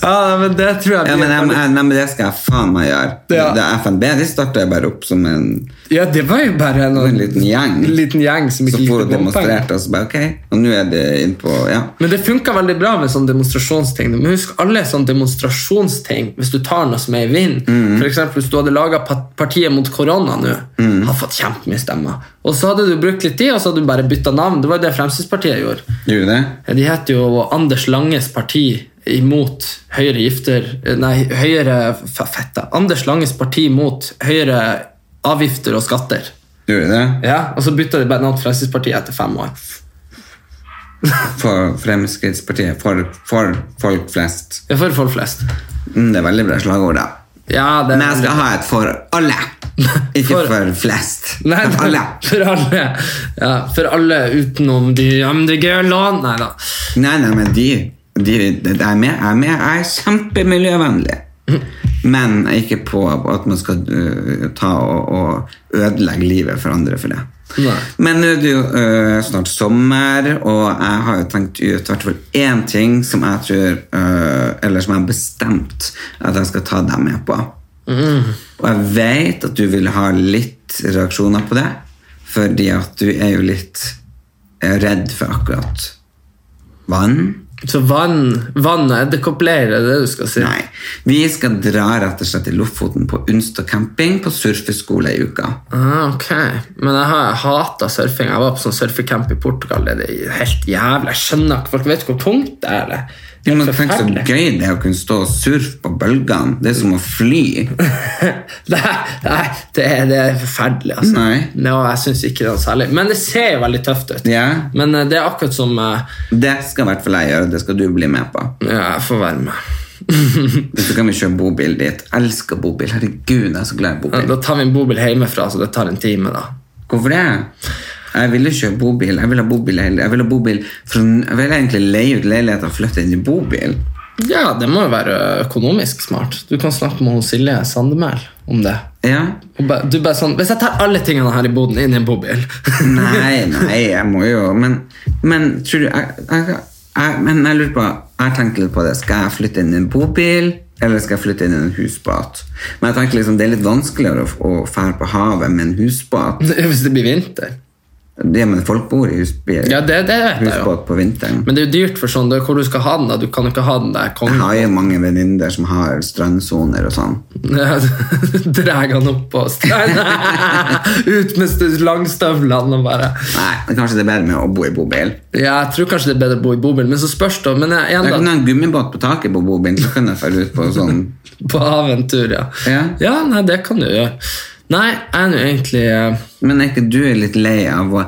Speaker 2: ja, nei, men det tror jeg
Speaker 1: Ja,
Speaker 2: blir
Speaker 1: men, jeg, jeg, nei, men det skal jeg faen meg gjøre.
Speaker 2: Ja.
Speaker 1: Det er FNB de starter jeg bare opp som en,
Speaker 2: Ja, det var jo bare en,
Speaker 1: en liten gjeng.
Speaker 2: liten gjeng som ikke
Speaker 1: Så får
Speaker 2: likte
Speaker 1: hun
Speaker 2: bompenger.
Speaker 1: demonstrert, og så bare ok. Og nå er det innpå Ja.
Speaker 2: Men det funka veldig bra med sånne demonstrasjonsting. Men husk, alle sånne demonstrasjonsting, hvis du tar noe som er i vinden for eksempel hvis du hadde laga partiet mot korona nå, har fått kjempemye stemmer. Og så hadde du brukt litt tid, og så hadde du bare bytta navn. Det var jo det Fremskrittspartiet gjorde.
Speaker 1: Gjorde du det?
Speaker 2: De heter jo Anders Langes parti imot høyere gifter Nei, høyere f- fette. Anders Langes parti mot høyere avgifter og skatter.
Speaker 1: Gjorde du det?
Speaker 2: Ja, Og så bytta de bare navn til Fremskrittspartiet etter fem år.
Speaker 1: For Fremskrittspartiet. For, for folk flest.
Speaker 2: Det er for folk flest.
Speaker 1: Mm, det er veldig bra slagord, da.
Speaker 2: Ja, det
Speaker 1: Men jeg skal ha et for alle. Ikke
Speaker 2: For-
Speaker 1: for, flest.
Speaker 2: Nei,
Speaker 1: for alle.
Speaker 2: For alle. Ja, for alle utenom de MDG-lån. Nei da.
Speaker 1: Nei, nei, men de, de, de jeg er med. Jeg er med. Jeg er kjempemiljøvennlig. Men ikke på at man skal øh, ta og, og ødelegge livet for andre for det.
Speaker 2: Nei.
Speaker 1: Men nå er det jo øh, snart sommer, og jeg har jo tenkt ut hvert fall én ting som jeg tror øh, Eller som jeg har bestemt at jeg skal ta deg med på. Og jeg vet at du vil ha litt reaksjoner på det, fordi at du er jo litt eh, redd for akkurat vann.
Speaker 2: Så vann, vann og edderkoppleir er det du skal si?
Speaker 1: Nei. Vi skal dra rett og slett til Lofoten på Unstad camping på surfeskole i uka.
Speaker 2: Ah, ok. Men jeg har hata surfing. Jeg var på sånn surfecamp i Portugal. Det er helt jævlig. Jeg skjønner ikke. Folk vet ikke hvor tungt det er. eller? Det
Speaker 1: Jo,
Speaker 2: er
Speaker 1: men Tenk så
Speaker 2: forferdelig.
Speaker 1: gøy det er å kunne stå og surfe på bølgene. Det er som å fly.
Speaker 2: Nei, nei det, er, det er forferdelig, altså.
Speaker 1: Nei.
Speaker 2: Nå, jeg syns ikke det er noe særlig. Men det ser jo veldig tøft ut.
Speaker 1: Ja.
Speaker 2: Men eh, det er akkurat som eh,
Speaker 1: Det skal i hvert fall jeg gjøre. Det skal du bli med på.
Speaker 2: Ja, jeg får være med.
Speaker 1: Så kan vi kjøre bobil dit. Jeg elsker bobil. Herregud, jeg er så glad i
Speaker 2: Ja,
Speaker 1: bobil.
Speaker 2: Da tar vi en bobil hjemmefra, så det tar en time, da.
Speaker 1: Hvorfor det? Jeg ville kjøre bobil. Jeg ville ha bobil, hele- jeg ville ha bobil for jeg ville egentlig leie ut leiligheter og flytte inn i bobil.
Speaker 2: Ja, det må jo være økonomisk smart. Du kan snakke med hun Silje Sandemæl om det.
Speaker 1: Ja.
Speaker 2: Hun ba, du bare sånn Hvis jeg tar alle tingene her i boden inn i en bobil
Speaker 1: Nei, nei, jeg må jo Men, men tror du jeg, jeg, jeg, Men jeg lurer på Jeg tenker litt på det. Skal jeg flytte inn i en bobil, eller skal jeg flytte inn i en husbåt? Men jeg tenker liksom det er litt vanskeligere å, å fære på havet med en husbåt.
Speaker 2: Hvis det blir vinter.
Speaker 1: Ja, men folk bor i husbil.
Speaker 2: Ja, det, det vet jeg jo.
Speaker 1: husbåt på vinteren.
Speaker 2: Men det er jo dyrt for sånn, det er hvor du skal ha den. da. Du kan jo ikke ha den der
Speaker 1: Jeg
Speaker 2: kongen.
Speaker 1: har jo mange venninner som har strandsoner og sånn.
Speaker 2: Dreg han opp på stranda. Ut med st- langstøvlene og bare
Speaker 1: Nei, men Kanskje det er bedre med å bo i bobil.
Speaker 2: Ja, jeg tror kanskje det er bedre å bo i bobil, men så spørs det. Men jeg,
Speaker 1: Jeg
Speaker 2: igjen,
Speaker 1: kan ha
Speaker 2: da,
Speaker 1: en gummibåt på taket på bobilen, så kan jeg fære ut på sånn
Speaker 2: på haventur, ja.
Speaker 1: Ja.
Speaker 2: nei, det kan du gjøre. Nei, jeg er nå egentlig eh,
Speaker 1: Men er ikke du litt lei av å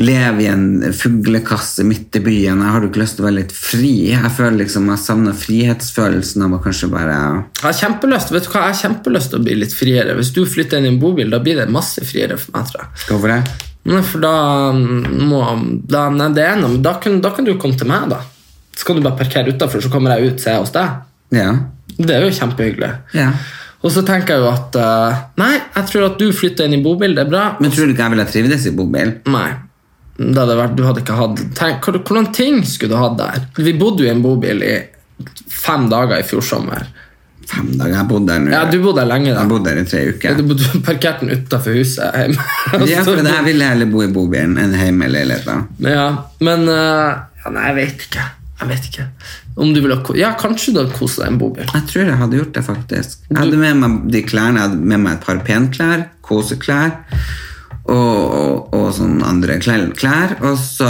Speaker 1: leve i en fuglekasse midt i byen? Jeg har du ikke lyst til å være litt fri? Jeg føler liksom jeg savner frihetsfølelsen av å kanskje bare
Speaker 2: jeg har kjempelyst vet du hva, jeg har kjempelyst til å bli litt friere. Hvis du flytter inn i en bobil, da blir det masse friere for meg. tror jeg.
Speaker 1: Hvorfor det?
Speaker 2: Nei, for da mm, må da, Nei, det er noe, men da kan, da kan du komme til meg, da. Så kan du bare parkere utafor, så kommer jeg ut, så er jeg hos deg.
Speaker 1: Ja.
Speaker 2: Det er jo kjempehyggelig.
Speaker 1: ja.
Speaker 2: Og så tenker jeg jo at eh, Nei, jeg tror at du flytter inn i bobil, det er bra.
Speaker 1: Men tror du ikke jeg ville ha trivdes i bobil?
Speaker 2: Nei. Det hadde vært, du hadde ikke hatt tenk, hvor- Hvordan ting skulle du hatt der? Vi bodde jo i en bobil i fem dager i fjor sommer.
Speaker 1: Fem dager. Jeg bodde der nå.
Speaker 2: Ja, du bodde der lenge, da.
Speaker 1: Jeg bodde der i tre uker.
Speaker 2: Du bodde parkert den utafor huset hjemme.
Speaker 1: Ja, for det her ville jeg heller bo i bobilen enn hjemme i leiligheten.
Speaker 2: Ja, men eh, ja, Nei, jeg vet ikke. Jeg vet ikke. Om du ville ha ko- Ja, kanskje du hadde kost deg i en bobil.
Speaker 1: Jeg tror jeg hadde gjort det, faktisk. Jeg hadde med meg de klærne, jeg hadde med meg et par penklær, koseklær og, og, og sånn andre klær. klær. Og så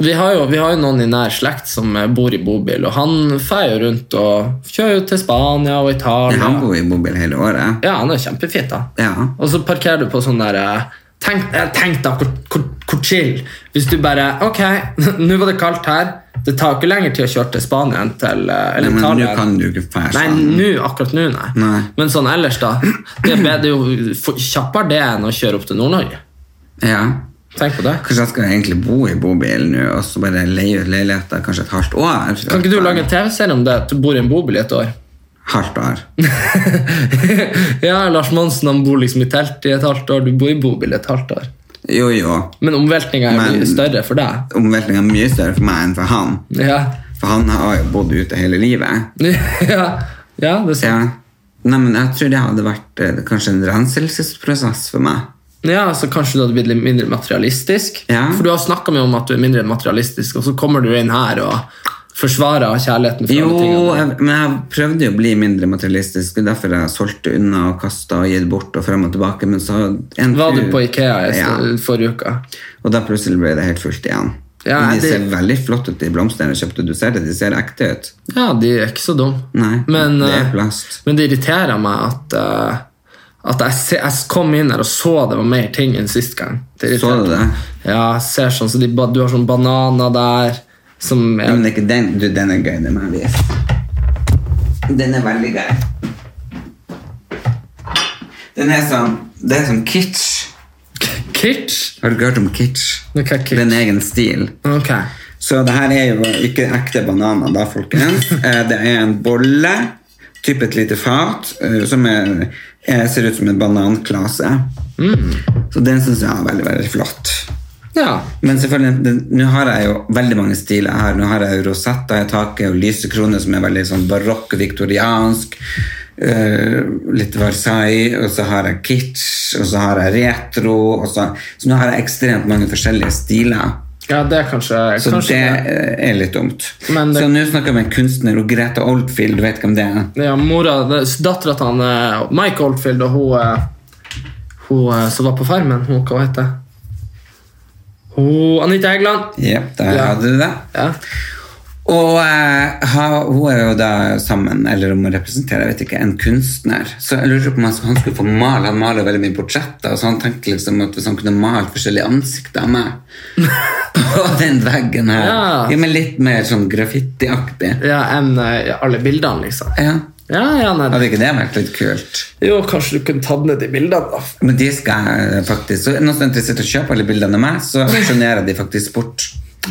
Speaker 2: Vi har, jo, vi har jo noen i nær slekt som eh, bor i bobil, og han feier jo rundt og kjører jo til Spania og Italia.
Speaker 1: Han bor i bobil hele året.
Speaker 2: Ja, han er kjempefint da
Speaker 1: Ja.
Speaker 2: Og så parkerer du på sånn der eh, Tenk, eh, tenk da, hvor, hvor, hvor chill Hvis du bare, ok, nå var det kaldt her Det tar jo ikke lenger til å kjøre til Spanien enn til, eh,
Speaker 1: Nei,
Speaker 2: Eller
Speaker 1: men nå
Speaker 2: Italia
Speaker 1: kan du ikke fære
Speaker 2: Nei,
Speaker 1: sånn.
Speaker 2: nå, akkurat nå, nei.
Speaker 1: Nei.
Speaker 2: Men sånn ellers da Det er bedre, jo f- kjappere det enn å kjøre opp til Nord-Norge
Speaker 1: Ja.
Speaker 2: Tenk på det
Speaker 1: Kanskje jeg skal egentlig bo i bobil nå, og så bare leie ut leiligheter kanskje et halvt år.
Speaker 2: Kan ikke du lage en tv-serie om det? at Du bor i en bobil i et år
Speaker 1: Halvt år.
Speaker 2: Ja, Lars Monsen han bor liksom i telt i et halvt år Du bor i bobil i et halvt år
Speaker 1: Jo, jo.
Speaker 2: Men omveltningen er
Speaker 1: Men-
Speaker 2: mye større for deg
Speaker 1: Omveltningen er mye større for meg enn for han.
Speaker 2: Ja,
Speaker 1: For han har jo bodd ute hele livet.
Speaker 2: ja, ja det ser
Speaker 1: Ja. Nei, men jeg tror det hadde vært eh, kanskje en renselsesprosess for meg.
Speaker 2: Ja, så kanskje du hadde blitt litt mindre materialistisk.
Speaker 1: Ja.
Speaker 2: For du har snakka med om at du er mindre materialistisk, og så kommer du inn her og forsvarer kjærligheten. for
Speaker 1: Jo,
Speaker 2: alle tingene.
Speaker 1: jeg, men jeg prøvde jo å bli mindre materialistisk, og derfor jeg solgte unna og kasta og gitt bort og frem og tilbake, men så en
Speaker 2: Var du
Speaker 1: tur-
Speaker 2: på Ikea i
Speaker 1: Ja,
Speaker 2: forrige uke?
Speaker 1: og da plutselig ble det helt fullt igjen.
Speaker 2: Ja,
Speaker 1: Men de
Speaker 2: det-
Speaker 1: ser veldig flotte ut, de blomstene jeg kjøpte. Du ser det, de ser ekte ut.
Speaker 2: Ja, de er ikke så dumme.
Speaker 1: Nei,
Speaker 2: men,
Speaker 1: det er
Speaker 2: eh,
Speaker 1: plast.
Speaker 2: men det irriterer meg at, eh, at jeg, se, jeg kom inn her og så det var mer ting enn sist gang. Det irriterer
Speaker 1: Så du det?
Speaker 2: meg. Ja, jeg ser sånn, så de, ba- du har sånn bananer der som
Speaker 1: Ja,
Speaker 2: er,
Speaker 1: men det er ikke den. Du, den er gøy, den må jeg vise. Den er veldig gøy. Den er sånn Det er sånn kitsch.
Speaker 2: Kitsch?
Speaker 1: Har du ikke hørt om kitsch?
Speaker 2: Det er
Speaker 1: Det er en
Speaker 2: kitsch.
Speaker 1: egen stil.
Speaker 2: Ok.
Speaker 1: Så det her er jo ikke ekte bananer, da, folkens. Eh, Det er en bolle, type et lite fat, eh, som er, eh, ser ut som en bananklase.
Speaker 2: Mm.
Speaker 1: Så den syns jeg er veldig, veldig flott.
Speaker 2: Ja.
Speaker 1: Men selvfølgelig, den- nå har jeg jo veldig mange stiler her. Nå har jeg jo rosetter i taket og lysekroner som er veldig sånn barokk og viktoriansk. eh, litt Versailles, og så har jeg kitsch, og så har jeg retro. Og så, så nå har jeg ekstremt mange forskjellige stiler.
Speaker 2: ja, det er kanskje,
Speaker 1: Så
Speaker 2: kanskje
Speaker 1: det eh, er litt dumt.
Speaker 2: Men det-
Speaker 1: Så nå snakker jeg med en kunstner, og Greta Oldfield, du vet hvem det er?
Speaker 2: Ja, mora, dattera til han eh, Mike Oldfield og hun, eh, hun eh, som var på Farmen, hun, hva heter hun? Hun- Anita Egeland.
Speaker 1: Ja, der
Speaker 2: Ja.
Speaker 1: hadde du det.
Speaker 2: Ja.
Speaker 1: Og eh, ha- hun er jo da sammen, eller om hun representerer, jeg vet ikke, en kunstner. Så jeg lurer på om han skulle- han skulle få male. Han maler veldig mye portretter, så han tenkte liksom at hvis han kunne male forskjellige ansikter av meg på den veggen her
Speaker 2: Ja.
Speaker 1: ja, men litt mer sånn graffitiaktig.
Speaker 2: ja, enn eh, alle bildene, liksom.
Speaker 1: Ja.
Speaker 2: Ja, ja, nei.
Speaker 1: Hadde ikke det vært litt kult?
Speaker 2: Jo, kanskje du kunne tatt ned de bildene, da.
Speaker 1: Men de skal jeg faktisk Så er sånn noen som er interessert i å kjøpe alle bildene av meg, så aksjonerer de faktisk bort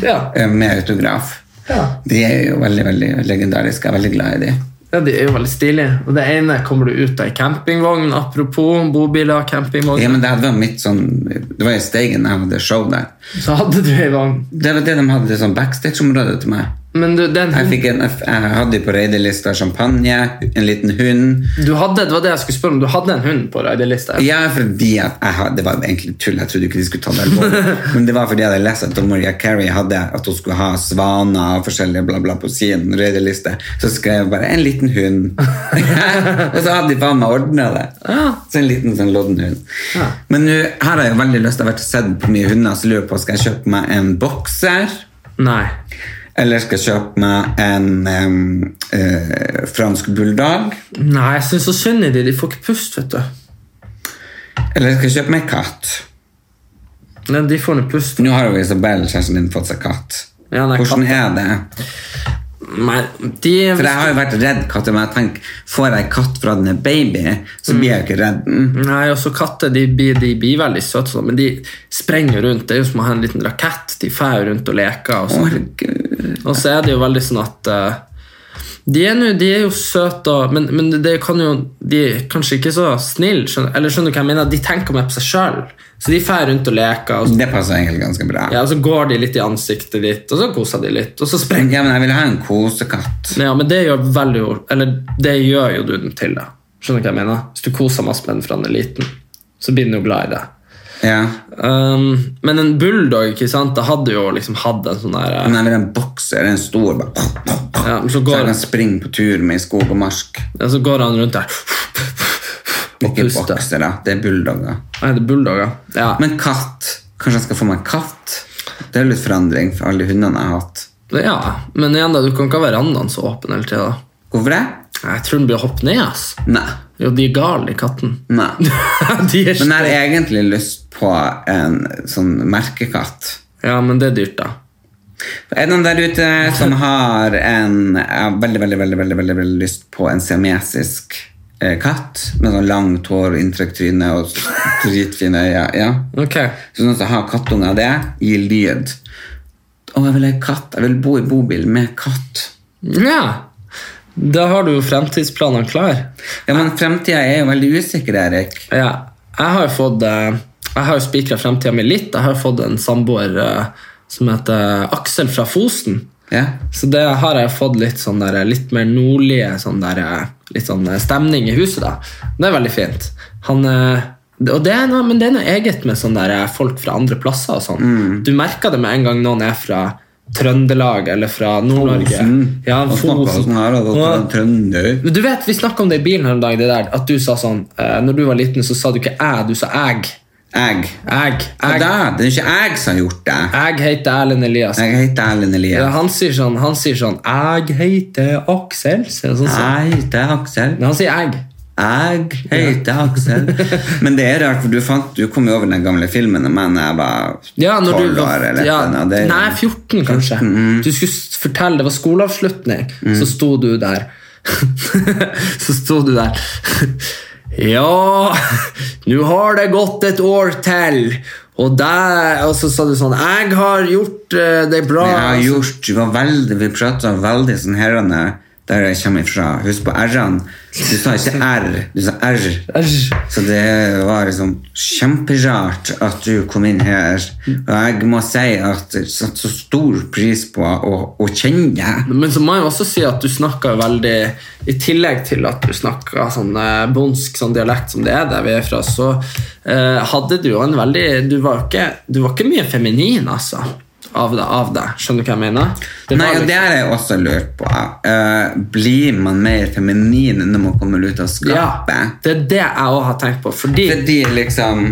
Speaker 2: Ja,
Speaker 1: eh, med autograf.
Speaker 2: Ja.
Speaker 1: De er jo veldig veldig legendariske. Jeg er veldig glad i de.
Speaker 2: ja De er jo veldig stilige. Og det ene kommer du ut av ei campingvogn. Apropos bobiler og campingvogn.
Speaker 1: Ja, men det var mitt sånn Det var i Steigen jeg hadde show der.
Speaker 2: Så hadde du ei vogn.
Speaker 1: Det var det de hadde sånn backstage-område til meg.
Speaker 2: Men du, den
Speaker 1: Jeg, fikk en, jeg hadde på raidelista champagne, en liten hund
Speaker 2: du hadde, det var det jeg skulle spørre om. Du hadde en hund på raidelista?
Speaker 1: Ja, fordi at jeg hadde, Det var egentlig tull, jeg trodde ikke de skulle ta det alvorlig. Men det var fordi jeg hadde lest at Maria Carey hadde at hun skulle ha svaner og forskjellige bla bla på sin røydeliste. Så skrev jeg bare 'en liten hund'. og så hadde de faen meg ordna det. Så en liten sånn loddenhund. Men nå her har jeg jo veldig lyst til å ha vært og sett på mye hunder, så lurer jeg på skal jeg kjøpe meg en bokser.
Speaker 2: Nei.
Speaker 1: Eller skal jeg kjøpe meg en em, eh, fransk bulldog?
Speaker 2: Nei, jeg syns så synd i de. De får ikke pust, vet du.
Speaker 1: Eller skal jeg kjøpe meg en katt?
Speaker 2: Nei, de får nå pust.
Speaker 1: Nå har jo Isabel, kjæresten din, fått seg katt.
Speaker 2: Ja, nei,
Speaker 1: Hvordan er det?
Speaker 2: Nei, de
Speaker 1: For jeg har jo vært redd katter, men jeg tenker, får jeg katt fra den er baby, så blir
Speaker 2: Mm.
Speaker 1: jeg jo ikke redd den.
Speaker 2: Nei, også katter de, blir- de blir veldig søte, sånn, men de sprenger rundt. Det er jo som å ha en liten rakett. De fer rundt og leker. Og,
Speaker 1: Å,
Speaker 2: sånn.
Speaker 1: herregud.
Speaker 2: og så er det jo veldig sånn at eh, De er, nå- de er jo søte, og- men, men det kan jo, de er kanskje ikke så snille. Skjønner, eller skjønner du hva jeg mener? De tenker mer på seg sjøl. Så de drar rundt og leker, og så,
Speaker 1: Det passer egentlig ganske bra.
Speaker 2: ja, og så går de litt i ansiktet ditt, og så koser de litt, og så sprenger
Speaker 1: Ja, men jeg vil ha en kosekatt.
Speaker 2: Ja, men det gjør veldig Eller det gjør jo du den til, da. Skjønner du hva jeg mener? Hvis du koser masse med den fra den er liten, så blir den jo glad i det.
Speaker 1: Ja.
Speaker 2: Um, men en bulldog, ikke sant, da hadde jo liksom hatt en sånn der
Speaker 1: Men jeg vil ha en bokser, en stor bare.
Speaker 2: ja, men
Speaker 1: Så
Speaker 2: så,
Speaker 1: jeg
Speaker 2: går,
Speaker 1: kan springe på tur med i skog og marsk.
Speaker 2: ja, så går han rundt der og
Speaker 1: Ikke
Speaker 2: puster.
Speaker 1: boksere, det er bulldogger.
Speaker 2: Nei, det er bulldogger. Ja.
Speaker 1: Men katt. Kanskje jeg skal få meg en katt? Det er jo litt forandring for alle de hundene jeg har hatt.
Speaker 2: ja, men igjen, da, du kan ikke ha verandaen så åpen hele tida.
Speaker 1: Hvorfor det?
Speaker 2: Jeg tror den blir å hoppe ned, ass.
Speaker 1: Nei.
Speaker 2: Jo, de er gale, de katten.
Speaker 1: Nei.
Speaker 2: de er
Speaker 1: Men jeg har egentlig lyst på en sånn merkekatt.
Speaker 2: Ja, men det er dyrt, da.
Speaker 1: Er det noen der ute som har en Jeg har veldig, veldig, veldig, veldig, veldig, veldig lyst på en siamesisk eh, katt med sånn langt hår, inntrykk tryne og dritfine øyne? Ja.
Speaker 2: Ok.
Speaker 1: Så noen som har kattunger av det, gir lyd. Å, jeg vil ha katt. Jeg vil bo i bobil med katt.
Speaker 2: Ja. Da har du jo fremtidsplanene klar.
Speaker 1: Ja, men fremtida er jo veldig usikker, Erik.
Speaker 2: Ja, jeg har jo fått eh, Jeg har jo spikra fremtida mi litt. Jeg har jo fått en samboer eh, som heter Aksel fra Fosen.
Speaker 1: Ja.
Speaker 2: Så det har jeg fått litt sånn der, litt mer nordlige sånn der, litt sånn eh, stemning i huset. da. Det er veldig fint. Han, eh, og det er noe, men det er noe eget med sånn der, eh, folk fra andre plasser. og sånn.
Speaker 1: Mm.
Speaker 2: Du merker det med en gang noen er fra Trøndelag eller fra Nord-Norge. Ja,
Speaker 1: Mm. Og snakka
Speaker 2: Fosen.
Speaker 1: sånn her, og da
Speaker 2: Og-
Speaker 1: var det trønder.
Speaker 2: men Du vet, Vi snakka om det i bilen her en dag. Det der, at du sa sånn eh, Når du var liten, så sa du ikke 'æ', du sa 'æg'.
Speaker 1: Jeg.
Speaker 2: Æg.
Speaker 1: Ja,
Speaker 2: Æg.
Speaker 1: da, det er jo ikke jeg som har gjort det.
Speaker 2: Æg heter Erlend Elias.
Speaker 1: Jeg heter Erlend
Speaker 2: Ja,
Speaker 1: Elias.
Speaker 2: han sier sånn Han sier sånn 'æg heter Aksel'. Sier han sånn, sånn.
Speaker 1: Jeg heter Aksel.
Speaker 2: Men han sier 'æg'.
Speaker 1: Jeg heter Aksel. Men det er rart, for du, fant, du kom jo over den gamle filmen om meg da jeg var
Speaker 2: Ja, når du
Speaker 1: 12
Speaker 2: var-
Speaker 1: år. Eller
Speaker 2: ja,
Speaker 1: et eller annet. Det er jo- Mm.
Speaker 2: Nei, 14 kanskje. Du skulle s- fortelle, det var skoleavslutning, så sto du der. så sto du der. Ja, nå har det gått et år til. Og, der, og så sa du sånn Jeg har gjort eh, det bra.
Speaker 1: Jeg har gjort, vi, var veldig, vi pratet om veldig sånn herrene der jeg kommer ifra. Husk på R-ene. Du sa ikke R, du sa R.
Speaker 2: Æsj.
Speaker 1: Så det var liksom kjemperart at du kom inn her. Og jeg må si at jeg satte så stor pris på å, å kjenne deg.
Speaker 2: Men så må jeg også si at du snakker veldig I tillegg til at du snakker sånn eh, bondsk sånn dialekt som det er der vi er fra, så eh, hadde du jo en veldig Du var ikke, du var ikke mye feminin, altså. Av deg. Av deg. Skjønner du hva jeg mener? Det
Speaker 1: Nei, og det
Speaker 2: var liksom-
Speaker 1: har jeg også lurt på. Eh, blir man mer feminin når man kommer ut av skapet?
Speaker 2: ja, det er det jeg òg har tenkt på. Fordi
Speaker 1: Fordi liksom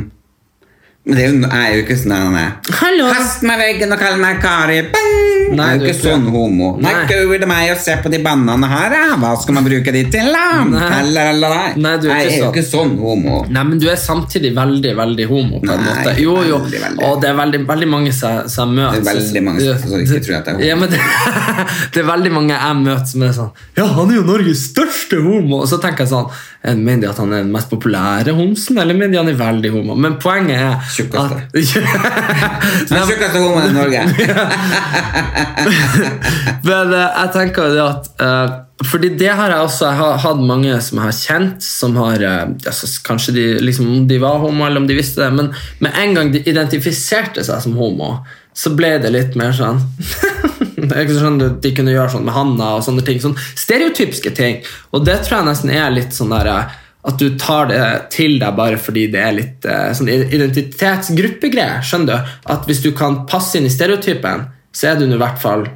Speaker 1: Men det er jo, jeg er jo ikke sånn her, nei.
Speaker 2: Hallo.
Speaker 1: Kast meg i veggen og kall meg Kari. Bang!
Speaker 2: Nei,
Speaker 1: jeg er
Speaker 2: du
Speaker 1: jo ikke
Speaker 2: er ikke-
Speaker 1: sånn homo. Nei,
Speaker 2: Nei.
Speaker 1: gud det er meg å se på de bannene her. ja. Hva skal man bruke de til? da?
Speaker 2: Nei.
Speaker 1: Eller, eller, nei.
Speaker 2: Nei, du er
Speaker 1: jeg
Speaker 2: ikke
Speaker 1: er jo
Speaker 2: sånn.
Speaker 1: ikke sånn homo.
Speaker 2: Nei, men du er samtidig veldig, veldig homo på en
Speaker 1: Nei,
Speaker 2: måte. Jo, jo.
Speaker 1: veldig, veldig.
Speaker 2: Og det er veldig, veldig mange som som jeg møter.
Speaker 1: Det er veldig mange som- som ikke tror at jeg er homo.
Speaker 2: Ja, men det, det er veldig mange jeg møter som er sånn Ja, han er jo Norges største homo! Og så tenker jeg sånn eh, Mener de at han er den mest populære homsen, eller mener de han er veldig homo? Men poenget er
Speaker 1: Tjukkeste.
Speaker 2: at-
Speaker 1: Den tjukkeste homoen i Norge.
Speaker 2: Men eh, jeg tenker det at eh, Fordi det har jeg også Jeg har hatt mange som jeg har kjent Som har, eh, altså, kanskje de, liksom, om de var homo Eller om de visste det Men med en gang de identifiserte seg som homo Så ble det litt mer sånn Det er ikke sånn at de kunne gjøre sånn med handa Og sånne ting, sånn stereotypiske ting Og det tror jeg nesten er litt sånn der eh, At du tar det til deg Bare fordi det er litt eh, sånn identitetsgruppegreier Skjønner du? At hvis du kan passe inn i stereotypen Så er du nå i hvert fall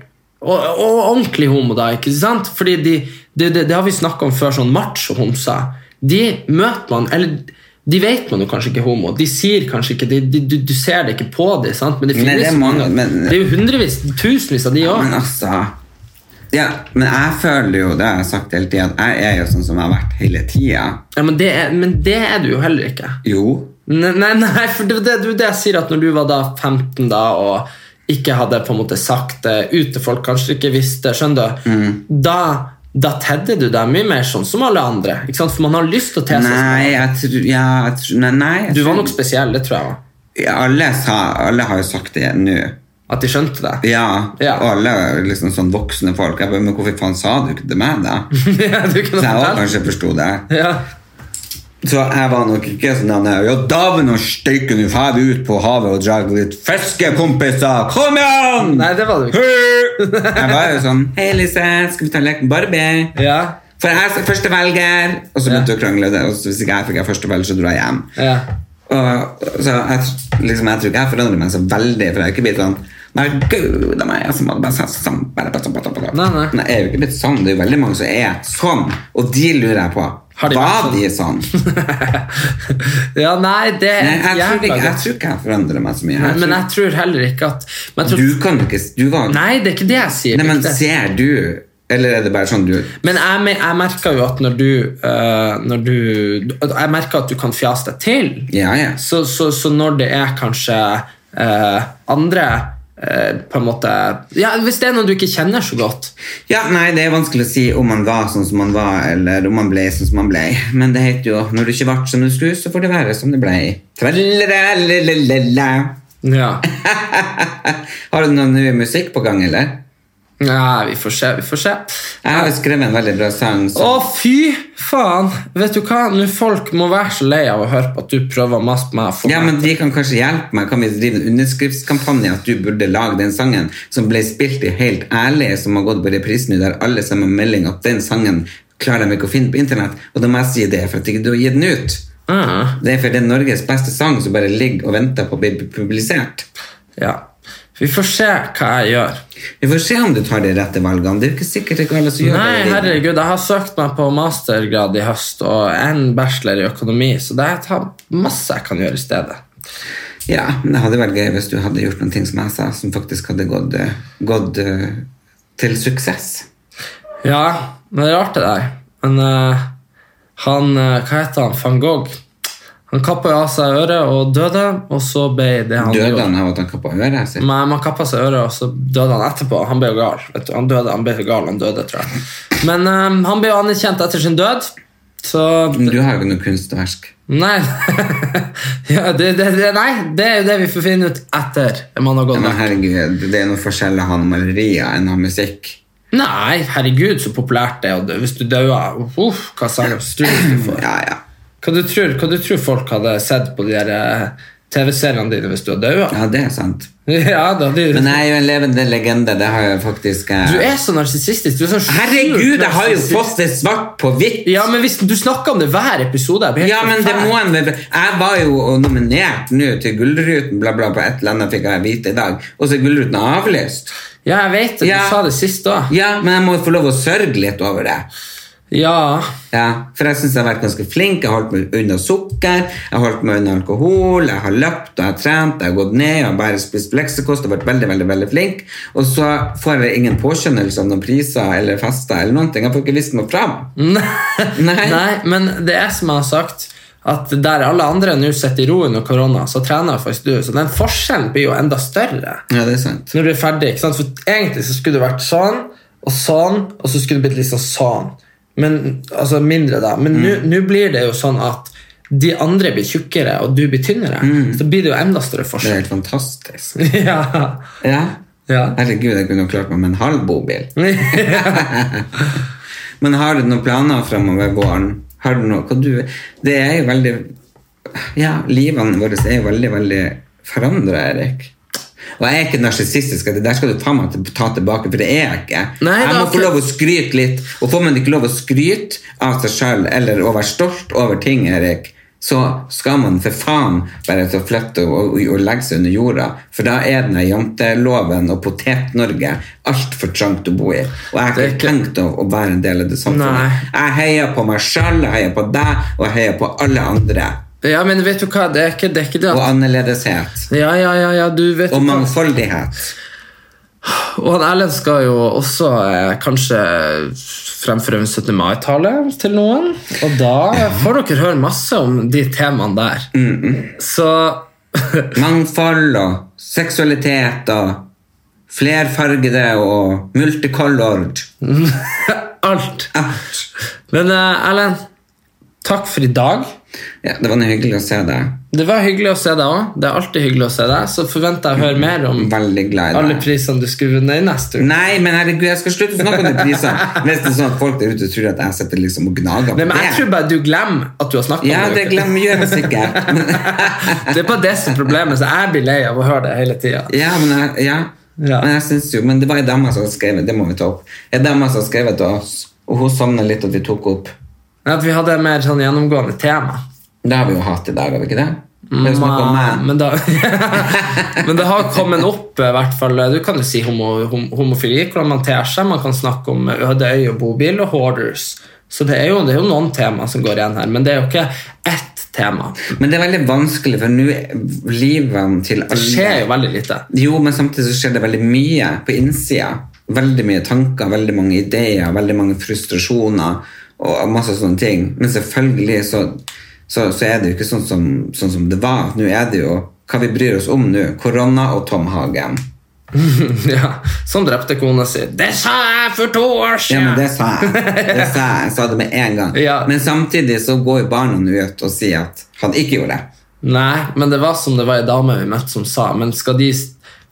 Speaker 2: og, og ordentlig homo, da. ikke sant? Fordi de, det- det- Det har vi snakka om før, sånn macho-homser. De møter man Eller de vet man jo kanskje ikke er homo. De sier kanskje ikke de, de, du, du ser det ikke på dem, sant? men det
Speaker 1: Nei,
Speaker 2: finnes
Speaker 1: det er
Speaker 2: jo
Speaker 1: mange,
Speaker 2: mange.
Speaker 1: men-
Speaker 2: det er jo hundrevis, tusenvis av de òg.
Speaker 1: Men altså ja, men jeg føler jo, det har jeg sagt hele tida, at jeg er jo sånn som jeg har vært hele tida.
Speaker 2: Ja, men, det er- men det er du jo heller ikke.
Speaker 1: Jo.
Speaker 2: Nei, nei, nei for det, det, det er jo det jeg sier at når du var da 15 da og ikke hadde på en måte sagt det ut til folk, kanskje ikke visste, skjønner du?
Speaker 1: Mm.
Speaker 2: Da, da tedde du deg mye mer sånn som alle andre, ikke sant? For man har lyst til å te seg
Speaker 1: Nei,
Speaker 2: sånn.
Speaker 1: jeg tror ja, jeg tror- Nei, nei jeg
Speaker 2: Du var
Speaker 1: tror-
Speaker 2: nok spesiell, det tror jeg.
Speaker 1: Ja, alle, sa, alle har jo sagt det nå.
Speaker 2: At de skjønte det.
Speaker 1: Ja,
Speaker 2: Ja.
Speaker 1: og alle liksom sånn voksne folk. Jeg bare, men hvorfor faen sa du ikke det til meg, da?
Speaker 2: Ja, du
Speaker 1: Så jeg
Speaker 2: kunne
Speaker 1: også
Speaker 2: fortelle.
Speaker 1: kanskje forsto det.
Speaker 2: Ja.
Speaker 1: Så jeg var nok ikke sånn han er, Ja, dæven og steike, nå drar vi ut på havet og drar litt fiske, kompiser! Kom igjen!
Speaker 2: Nei, det var du ikke.
Speaker 1: Hø! Jeg var jo sånn Hei, Lise, skal vi ta leken Barbie?
Speaker 2: Ja.
Speaker 1: For jeg er første velger! Og så begynte
Speaker 2: Ja.
Speaker 1: vi å krangle, det, og så hvis ikke jeg fikk jeg første velger, så dro jeg hjem.
Speaker 2: Ja.
Speaker 1: Og, så jeg, liksom, jeg tror ikke jeg forandrer meg så veldig, for jeg er ikke blitt sånn Nei, gud, det er meg som hadde bare sagt sånn bare, bare, bare, bare, bare.
Speaker 2: Nei, nei.
Speaker 1: Men jeg er jo ikke blitt sånn. Det er jo veldig mange som er sånn, og de lurer jeg på.
Speaker 2: Har de
Speaker 1: var
Speaker 2: vært
Speaker 1: de sånn?
Speaker 2: ja, nei, det er
Speaker 1: Nei, jeg, tror ikke,
Speaker 2: jævla
Speaker 1: jeg
Speaker 2: godt.
Speaker 1: tror ikke jeg forandrer meg så mye.
Speaker 2: Nei,
Speaker 1: Jeg
Speaker 2: Men
Speaker 1: tror-
Speaker 2: jeg tror heller ikke at men jeg tror,
Speaker 1: du kan jo ikke du var, nei,
Speaker 2: Nei, det er ikke det jeg sier.
Speaker 1: men
Speaker 2: Det er ikke det.
Speaker 1: Ser du, eller er det bare sånn du
Speaker 2: Men jeg, me- jeg merker jo at når du, eh, når du Jeg merker at du kan fjase deg til.
Speaker 1: Ja, ja.
Speaker 2: Så, så, så når det er kanskje eh, andre eh, på en måte Ja, Hvis det er noen du ikke kjenner så godt.
Speaker 1: Ja, nei, Det er vanskelig å si om man var sånn som man var, eller om man ble sånn som man ble. Men det heter jo når du ikke ble som du skulle, så får det være som det ble. Tralalalalala.
Speaker 2: Ja.
Speaker 1: Har du noe ny musikk på gang, eller?
Speaker 2: Nei, vi får se. Vi får se.
Speaker 1: Jeg har jo skrevet en veldig bra sang.
Speaker 2: Å,
Speaker 1: Så,
Speaker 2: fy faen! Vet du hva? Nå Folk må være så lei av å høre på at du prøver å mase på meg. for
Speaker 1: ja,
Speaker 2: meg.
Speaker 1: men De kan kanskje hjelpe meg. Kan vi drive en underskriftskampanje at du burde lage den sangen som ble spilt i Helt ærlig, som har gått på reprise nå, der alle sender melding at den sangen klarer de ikke å finne på internett? Og da må jeg si det, for at ikke du har gitt den ut.
Speaker 2: Ah,
Speaker 1: Det er fordi det er Norges beste sang som bare ligger og venter på å bli publisert.
Speaker 2: ja. Vi får se hva jeg gjør.
Speaker 1: Vi får se om du tar de rette valgene. Det er jo ikke sikkert ikke alle som gjør
Speaker 2: Nei,
Speaker 1: det.
Speaker 2: herregud, jeg har søkt meg på mastergrad i høst og en bachelor i økonomi, så det er masse jeg kan gjøre i stedet.
Speaker 1: Ja, men det hadde vært gøy hvis du hadde gjort noen ting som jeg sa, som faktisk hadde gått, eh, gått eh, til suksess.
Speaker 2: Ja, men det er rart det der. Men eh, han, eh, hva heter han, van Gogh? Han kappa jo av seg øret og døde, og så ble det han
Speaker 1: Døde
Speaker 2: gjorde.
Speaker 1: han av at han kappa øret sitt?
Speaker 2: Men man kappa seg øret, og så døde han etterpå. Han ble jo gal. Vet du. Han døde, han ble jo gal, han døde, tror jeg. Men eh, han ble jo anerkjent etter sin død, så
Speaker 1: Men du har jo ikke noe kunstverk.
Speaker 2: Nei. ja, det, det, det, nei, det er jo det vi får finne ut etter man har
Speaker 1: Ja,
Speaker 2: gått
Speaker 1: men
Speaker 2: vekk.
Speaker 1: herregud, det er noe forskjell å ha noen malerier enn å ha musikk.
Speaker 2: Nei, herregud, så populært det er. og det- Hvis du dauer uff, hva slags strus du får.
Speaker 1: Ja, ja.
Speaker 2: Hva du tror, hva du tror folk hadde sett på de der eh, TV-seriene dine hvis du hadde daua?
Speaker 1: Ja, det er sant.
Speaker 2: Ja, da, de,
Speaker 1: Men eh, jeg er jo en levende legende. Det har jeg faktisk eh,
Speaker 2: du er så narsissistisk. Du er så sjukt
Speaker 1: Herregud, jeg har jo
Speaker 2: narsissistisk.
Speaker 1: fått det svart på hvitt!
Speaker 2: Ja, men hvis Du snakker om det hver episode. Jeg blir helt
Speaker 1: Ja, men det
Speaker 2: forferdelig.
Speaker 1: må en vel Jeg var jo nominert nå til Gullruten, bla, bla, på et eller annet fikk jeg vite i dag. Og så er Gullruten avlyst.
Speaker 2: Ja, jeg vet det.
Speaker 1: Ja.
Speaker 2: Du sa det sist òg.
Speaker 1: Ja, men jeg må jo få lov å sørge litt over det.
Speaker 2: Ja.
Speaker 1: Ja, for jeg syns jeg har vært ganske flink. Jeg har holdt meg unna sukker, jeg har holdt meg unna alkohol, jeg har løpt, og jeg har trent, jeg har gått ned, jeg har bare spist leksekost og vært veldig, veldig veldig flink. Og så får jeg ingen påskjønnelse av noen priser eller fester eller noen ting. Jeg får ikke vist meg fram. Nei.
Speaker 2: Nei, men det er som jeg har sagt at der alle andre nå sitter i ro under korona, så trener faktisk du. Så den forskjellen blir jo enda større
Speaker 1: Ja, det er sant.
Speaker 2: når du er ferdig. ikke sant? For egentlig så skulle det vært sånn og sånn, og så skulle det blitt litt sånn sånn. Men, altså mindre, da. Men nå
Speaker 1: Mm.
Speaker 2: nå blir det jo sånn at de andre blir tjukkere, og du blir tynnere.
Speaker 1: Mm.
Speaker 2: Så blir det jo enda større
Speaker 1: Det er
Speaker 2: forskjell.
Speaker 1: helt fantastisk.
Speaker 2: ja.
Speaker 1: Ja.
Speaker 2: ja.
Speaker 1: Herregud, jeg kunne jo klart meg med en halv bobil.
Speaker 2: ja.
Speaker 1: Men har du noen planer fremover våren? Har du noe, hva du, det er jo veldig Ja, livene våre er jo veldig, veldig forandra, Erik. Og jeg er ikke narsissistisk, det der skal du ta meg til, ta tilbake, for det er jeg ikke.
Speaker 2: Nei,
Speaker 1: jeg
Speaker 2: da,
Speaker 1: må
Speaker 2: for-
Speaker 1: få lov å skryte litt, og får man ikke lov å skryte av seg sjøl eller å være stolt over ting, Erik, så skal man for faen bare til å flytte og, og, og legge seg under jorda, for da er den her janteloven og Potet-Norge altfor trangt å bo i. Og jeg har
Speaker 2: Det er
Speaker 1: ikke tenkt å, å være en del av det
Speaker 2: Nei.
Speaker 1: samfunnet. Jeg heier på meg sjøl, jeg heier på deg, og jeg heier på alle andre.
Speaker 2: ja, men vet du hva, det er ikke det, er ikke det
Speaker 1: Og
Speaker 2: at
Speaker 1: annerledeshet.
Speaker 2: Ja, ja, ja, ja, du vet
Speaker 1: Og
Speaker 2: jo hva
Speaker 1: mangfoldighet.
Speaker 2: Og han Erlend skal jo også eh, kanskje fremføre en 17. mai-tale til noen. Og da får dere høre masse om de temaene der. Så
Speaker 1: Mangfold og seksualitet og flerfargede og multicolored.
Speaker 2: alt. Men eh, Erlend, takk for i dag.
Speaker 1: Ja, det var noe hyggelig å se deg.
Speaker 2: Det var hyggelig å se deg òg. Det er alltid hyggelig å se deg. Så forventer jeg å høre mer om
Speaker 1: Veldig glad i
Speaker 2: alle
Speaker 1: deg.
Speaker 2: prisene du skulle vunnet i neste uke.
Speaker 1: Nei, men herregud, jeg skal slutte å snakke om de prisene. Hvis det er sånn at folk der ute tror at jeg sitter liksom og gnager på
Speaker 2: Nei, men jeg tror bare du glemmer at du har snakket
Speaker 1: Ja,
Speaker 2: om
Speaker 1: det glemmer jeg sikkert. Men,
Speaker 2: Det er bare det som er problemet, så jeg blir lei av å høre det hele tida.
Speaker 1: ja, men, jeg, ja.
Speaker 2: Ja.
Speaker 1: men jeg synes jo Men det var ei dame som skrev det, må vi ta opp. Ei dame som skrev det til oss, og hun savna litt at vi tok opp.
Speaker 2: At vi hadde et mer sånn gjennomgående tema.
Speaker 1: Det har vi jo hatt i dag, har vi ikke det? Det er jo snakk om meg.
Speaker 2: Men, da, men det har kommet opp, eh, i hvert fall. Du kan jo si homo, hom, homofili, hvordan man ter seg. Man kan snakke om eh, øde øy og bobil og hoarders. Så det er, jo, det er jo noen tema som går igjen her, men det er jo ikke ett tema.
Speaker 1: Men det er veldig vanskelig, for nå er livene til alle
Speaker 2: Det skjer jo veldig lite.
Speaker 1: Jo, men samtidig så skjer det veldig mye på innsida. Veldig mye tanker, veldig mange ideer, veldig mange frustrasjoner og masse sånne ting. Men selvfølgelig så, så, så er det jo ikke sånn som, sånn som det var. Nå er det jo hva vi bryr oss om nå. Korona og Tom Hagen.
Speaker 2: ja, som drepte kona si. Det sa jeg for to år
Speaker 1: Ja,
Speaker 2: siden!
Speaker 1: men det sa jeg. Det sa jeg. jeg sa det med en gang.
Speaker 2: Ja.
Speaker 1: Men samtidig så går jo barna nå ut og sier at han ikke gjorde det.
Speaker 2: Nei, men det var som det var ei dame vi møtte som sa Men skal de,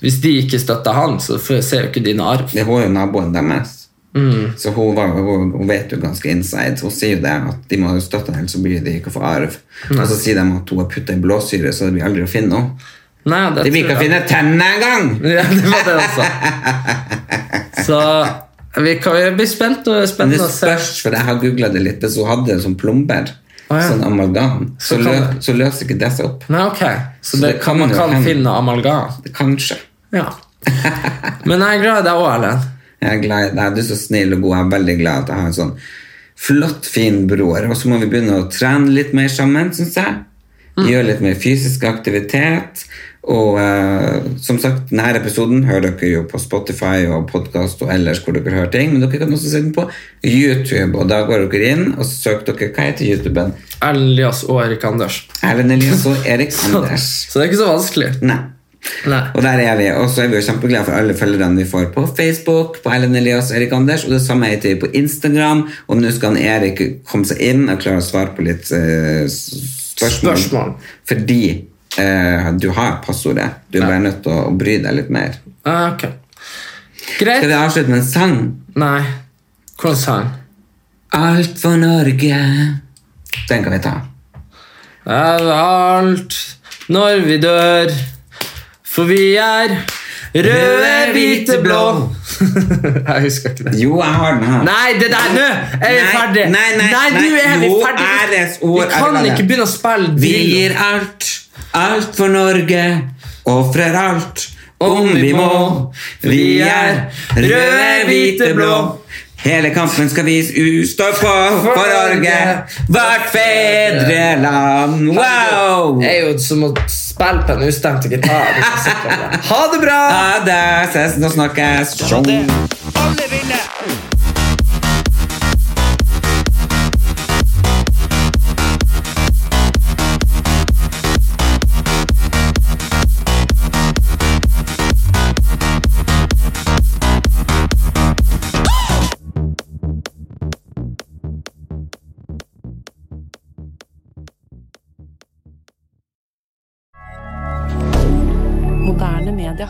Speaker 2: hvis de ikke støtter han, så får- ser jo ikke de noen arv.
Speaker 1: Det var jo naboen deres.
Speaker 2: Mm.
Speaker 1: Så hun, var, hun, hun vet jo ganske inside. Hun sier jo det at de må jo støtte henne, ellers så blir de ikke å få arv. Og så sier de at hun har putta i blåsyre, så det blir aldri å finne henne.
Speaker 2: Nei, det
Speaker 1: De blir
Speaker 2: tror
Speaker 1: ikke å
Speaker 2: jeg.
Speaker 1: finne tennene engang!
Speaker 2: Ja, det var det også. Så vi kan, jeg blir spent og
Speaker 1: Men det
Speaker 2: spennende å se.
Speaker 1: spørs, for jeg har googla det litt, hvis hun hadde sånn plomber,
Speaker 2: Å, ja.
Speaker 1: sånn amalgam, så,
Speaker 2: Så kan
Speaker 1: lø,
Speaker 2: det-
Speaker 1: så løser ikke det seg opp.
Speaker 2: Nei, ok. Så,
Speaker 1: Så
Speaker 2: det,
Speaker 1: det
Speaker 2: kan
Speaker 1: kan
Speaker 2: man
Speaker 1: jo
Speaker 2: kan
Speaker 1: hende.
Speaker 2: finne amalgam.
Speaker 1: Kanskje.
Speaker 2: Ja. Men jeg er glad i deg òg, Erlend.
Speaker 1: Jeg er glad i deg. Du er så snill og god. Jeg er veldig glad at jeg har en sånn flott, fin bror. Og så må vi begynne å trene litt mer sammen, syns jeg. Gjøre litt mer fysisk aktivitet. Og eh, som sagt, denne episoden hører dere jo på Spotify og podkast og ellers hvor dere hører ting, men dere kan også se den på YouTube. Og da går dere inn og så søker dere Hva heter YouTuben?
Speaker 2: Erlend Elias og Erik Anders.
Speaker 1: Erlend Elias og Erik Anders.
Speaker 2: Så det er ikke så vanskelig.
Speaker 1: Nei.
Speaker 2: Nei.
Speaker 1: Og der er vi, og så er vi jo kjempeglade for alle følgerne vi får på Facebook, på Ellen Elias og Erik Anders, og det samme heter vi på Instagram, og nå skal han Erik komme seg inn og klare å svare på litt eh, s- spørsmål.
Speaker 2: Spørsmål.
Speaker 1: Fordi eh, du har passordet. Du er bare nødt til å, å bry deg litt mer.
Speaker 2: Ah, ok.
Speaker 1: Skal
Speaker 2: Greit.
Speaker 1: vi avslutte med en sang?
Speaker 2: Nei. Hvordan sang?
Speaker 1: Alt for Norge. Den kan vi ta.
Speaker 2: Er alt når vi dør, for vi er røde, hvite, blå. jeg husker ikke det.
Speaker 1: Jo, jeg har den her.
Speaker 2: Nei, det der, nå er vi
Speaker 1: Nei,
Speaker 2: ferdig
Speaker 1: nei, nei,
Speaker 2: du
Speaker 1: nei.
Speaker 2: er vi
Speaker 1: Jo,
Speaker 2: ferdig
Speaker 1: æresord
Speaker 2: Vi
Speaker 1: er
Speaker 2: kan
Speaker 1: det.
Speaker 2: ikke begynne å spille
Speaker 1: Vi
Speaker 2: drill.
Speaker 1: gir alt, alt for Norge, ofrer alt om vi må. Vi er røde, hvite, blå. Hele kampen skal vi u- stå på for Norge, vårt fedreland. Wow!
Speaker 2: Det er jo som å spille på en ustemt gitar Du kan sitte og bare, Ha det bra
Speaker 1: Ha det! Ses og snakkes. Tjong.
Speaker 3: Moderne media.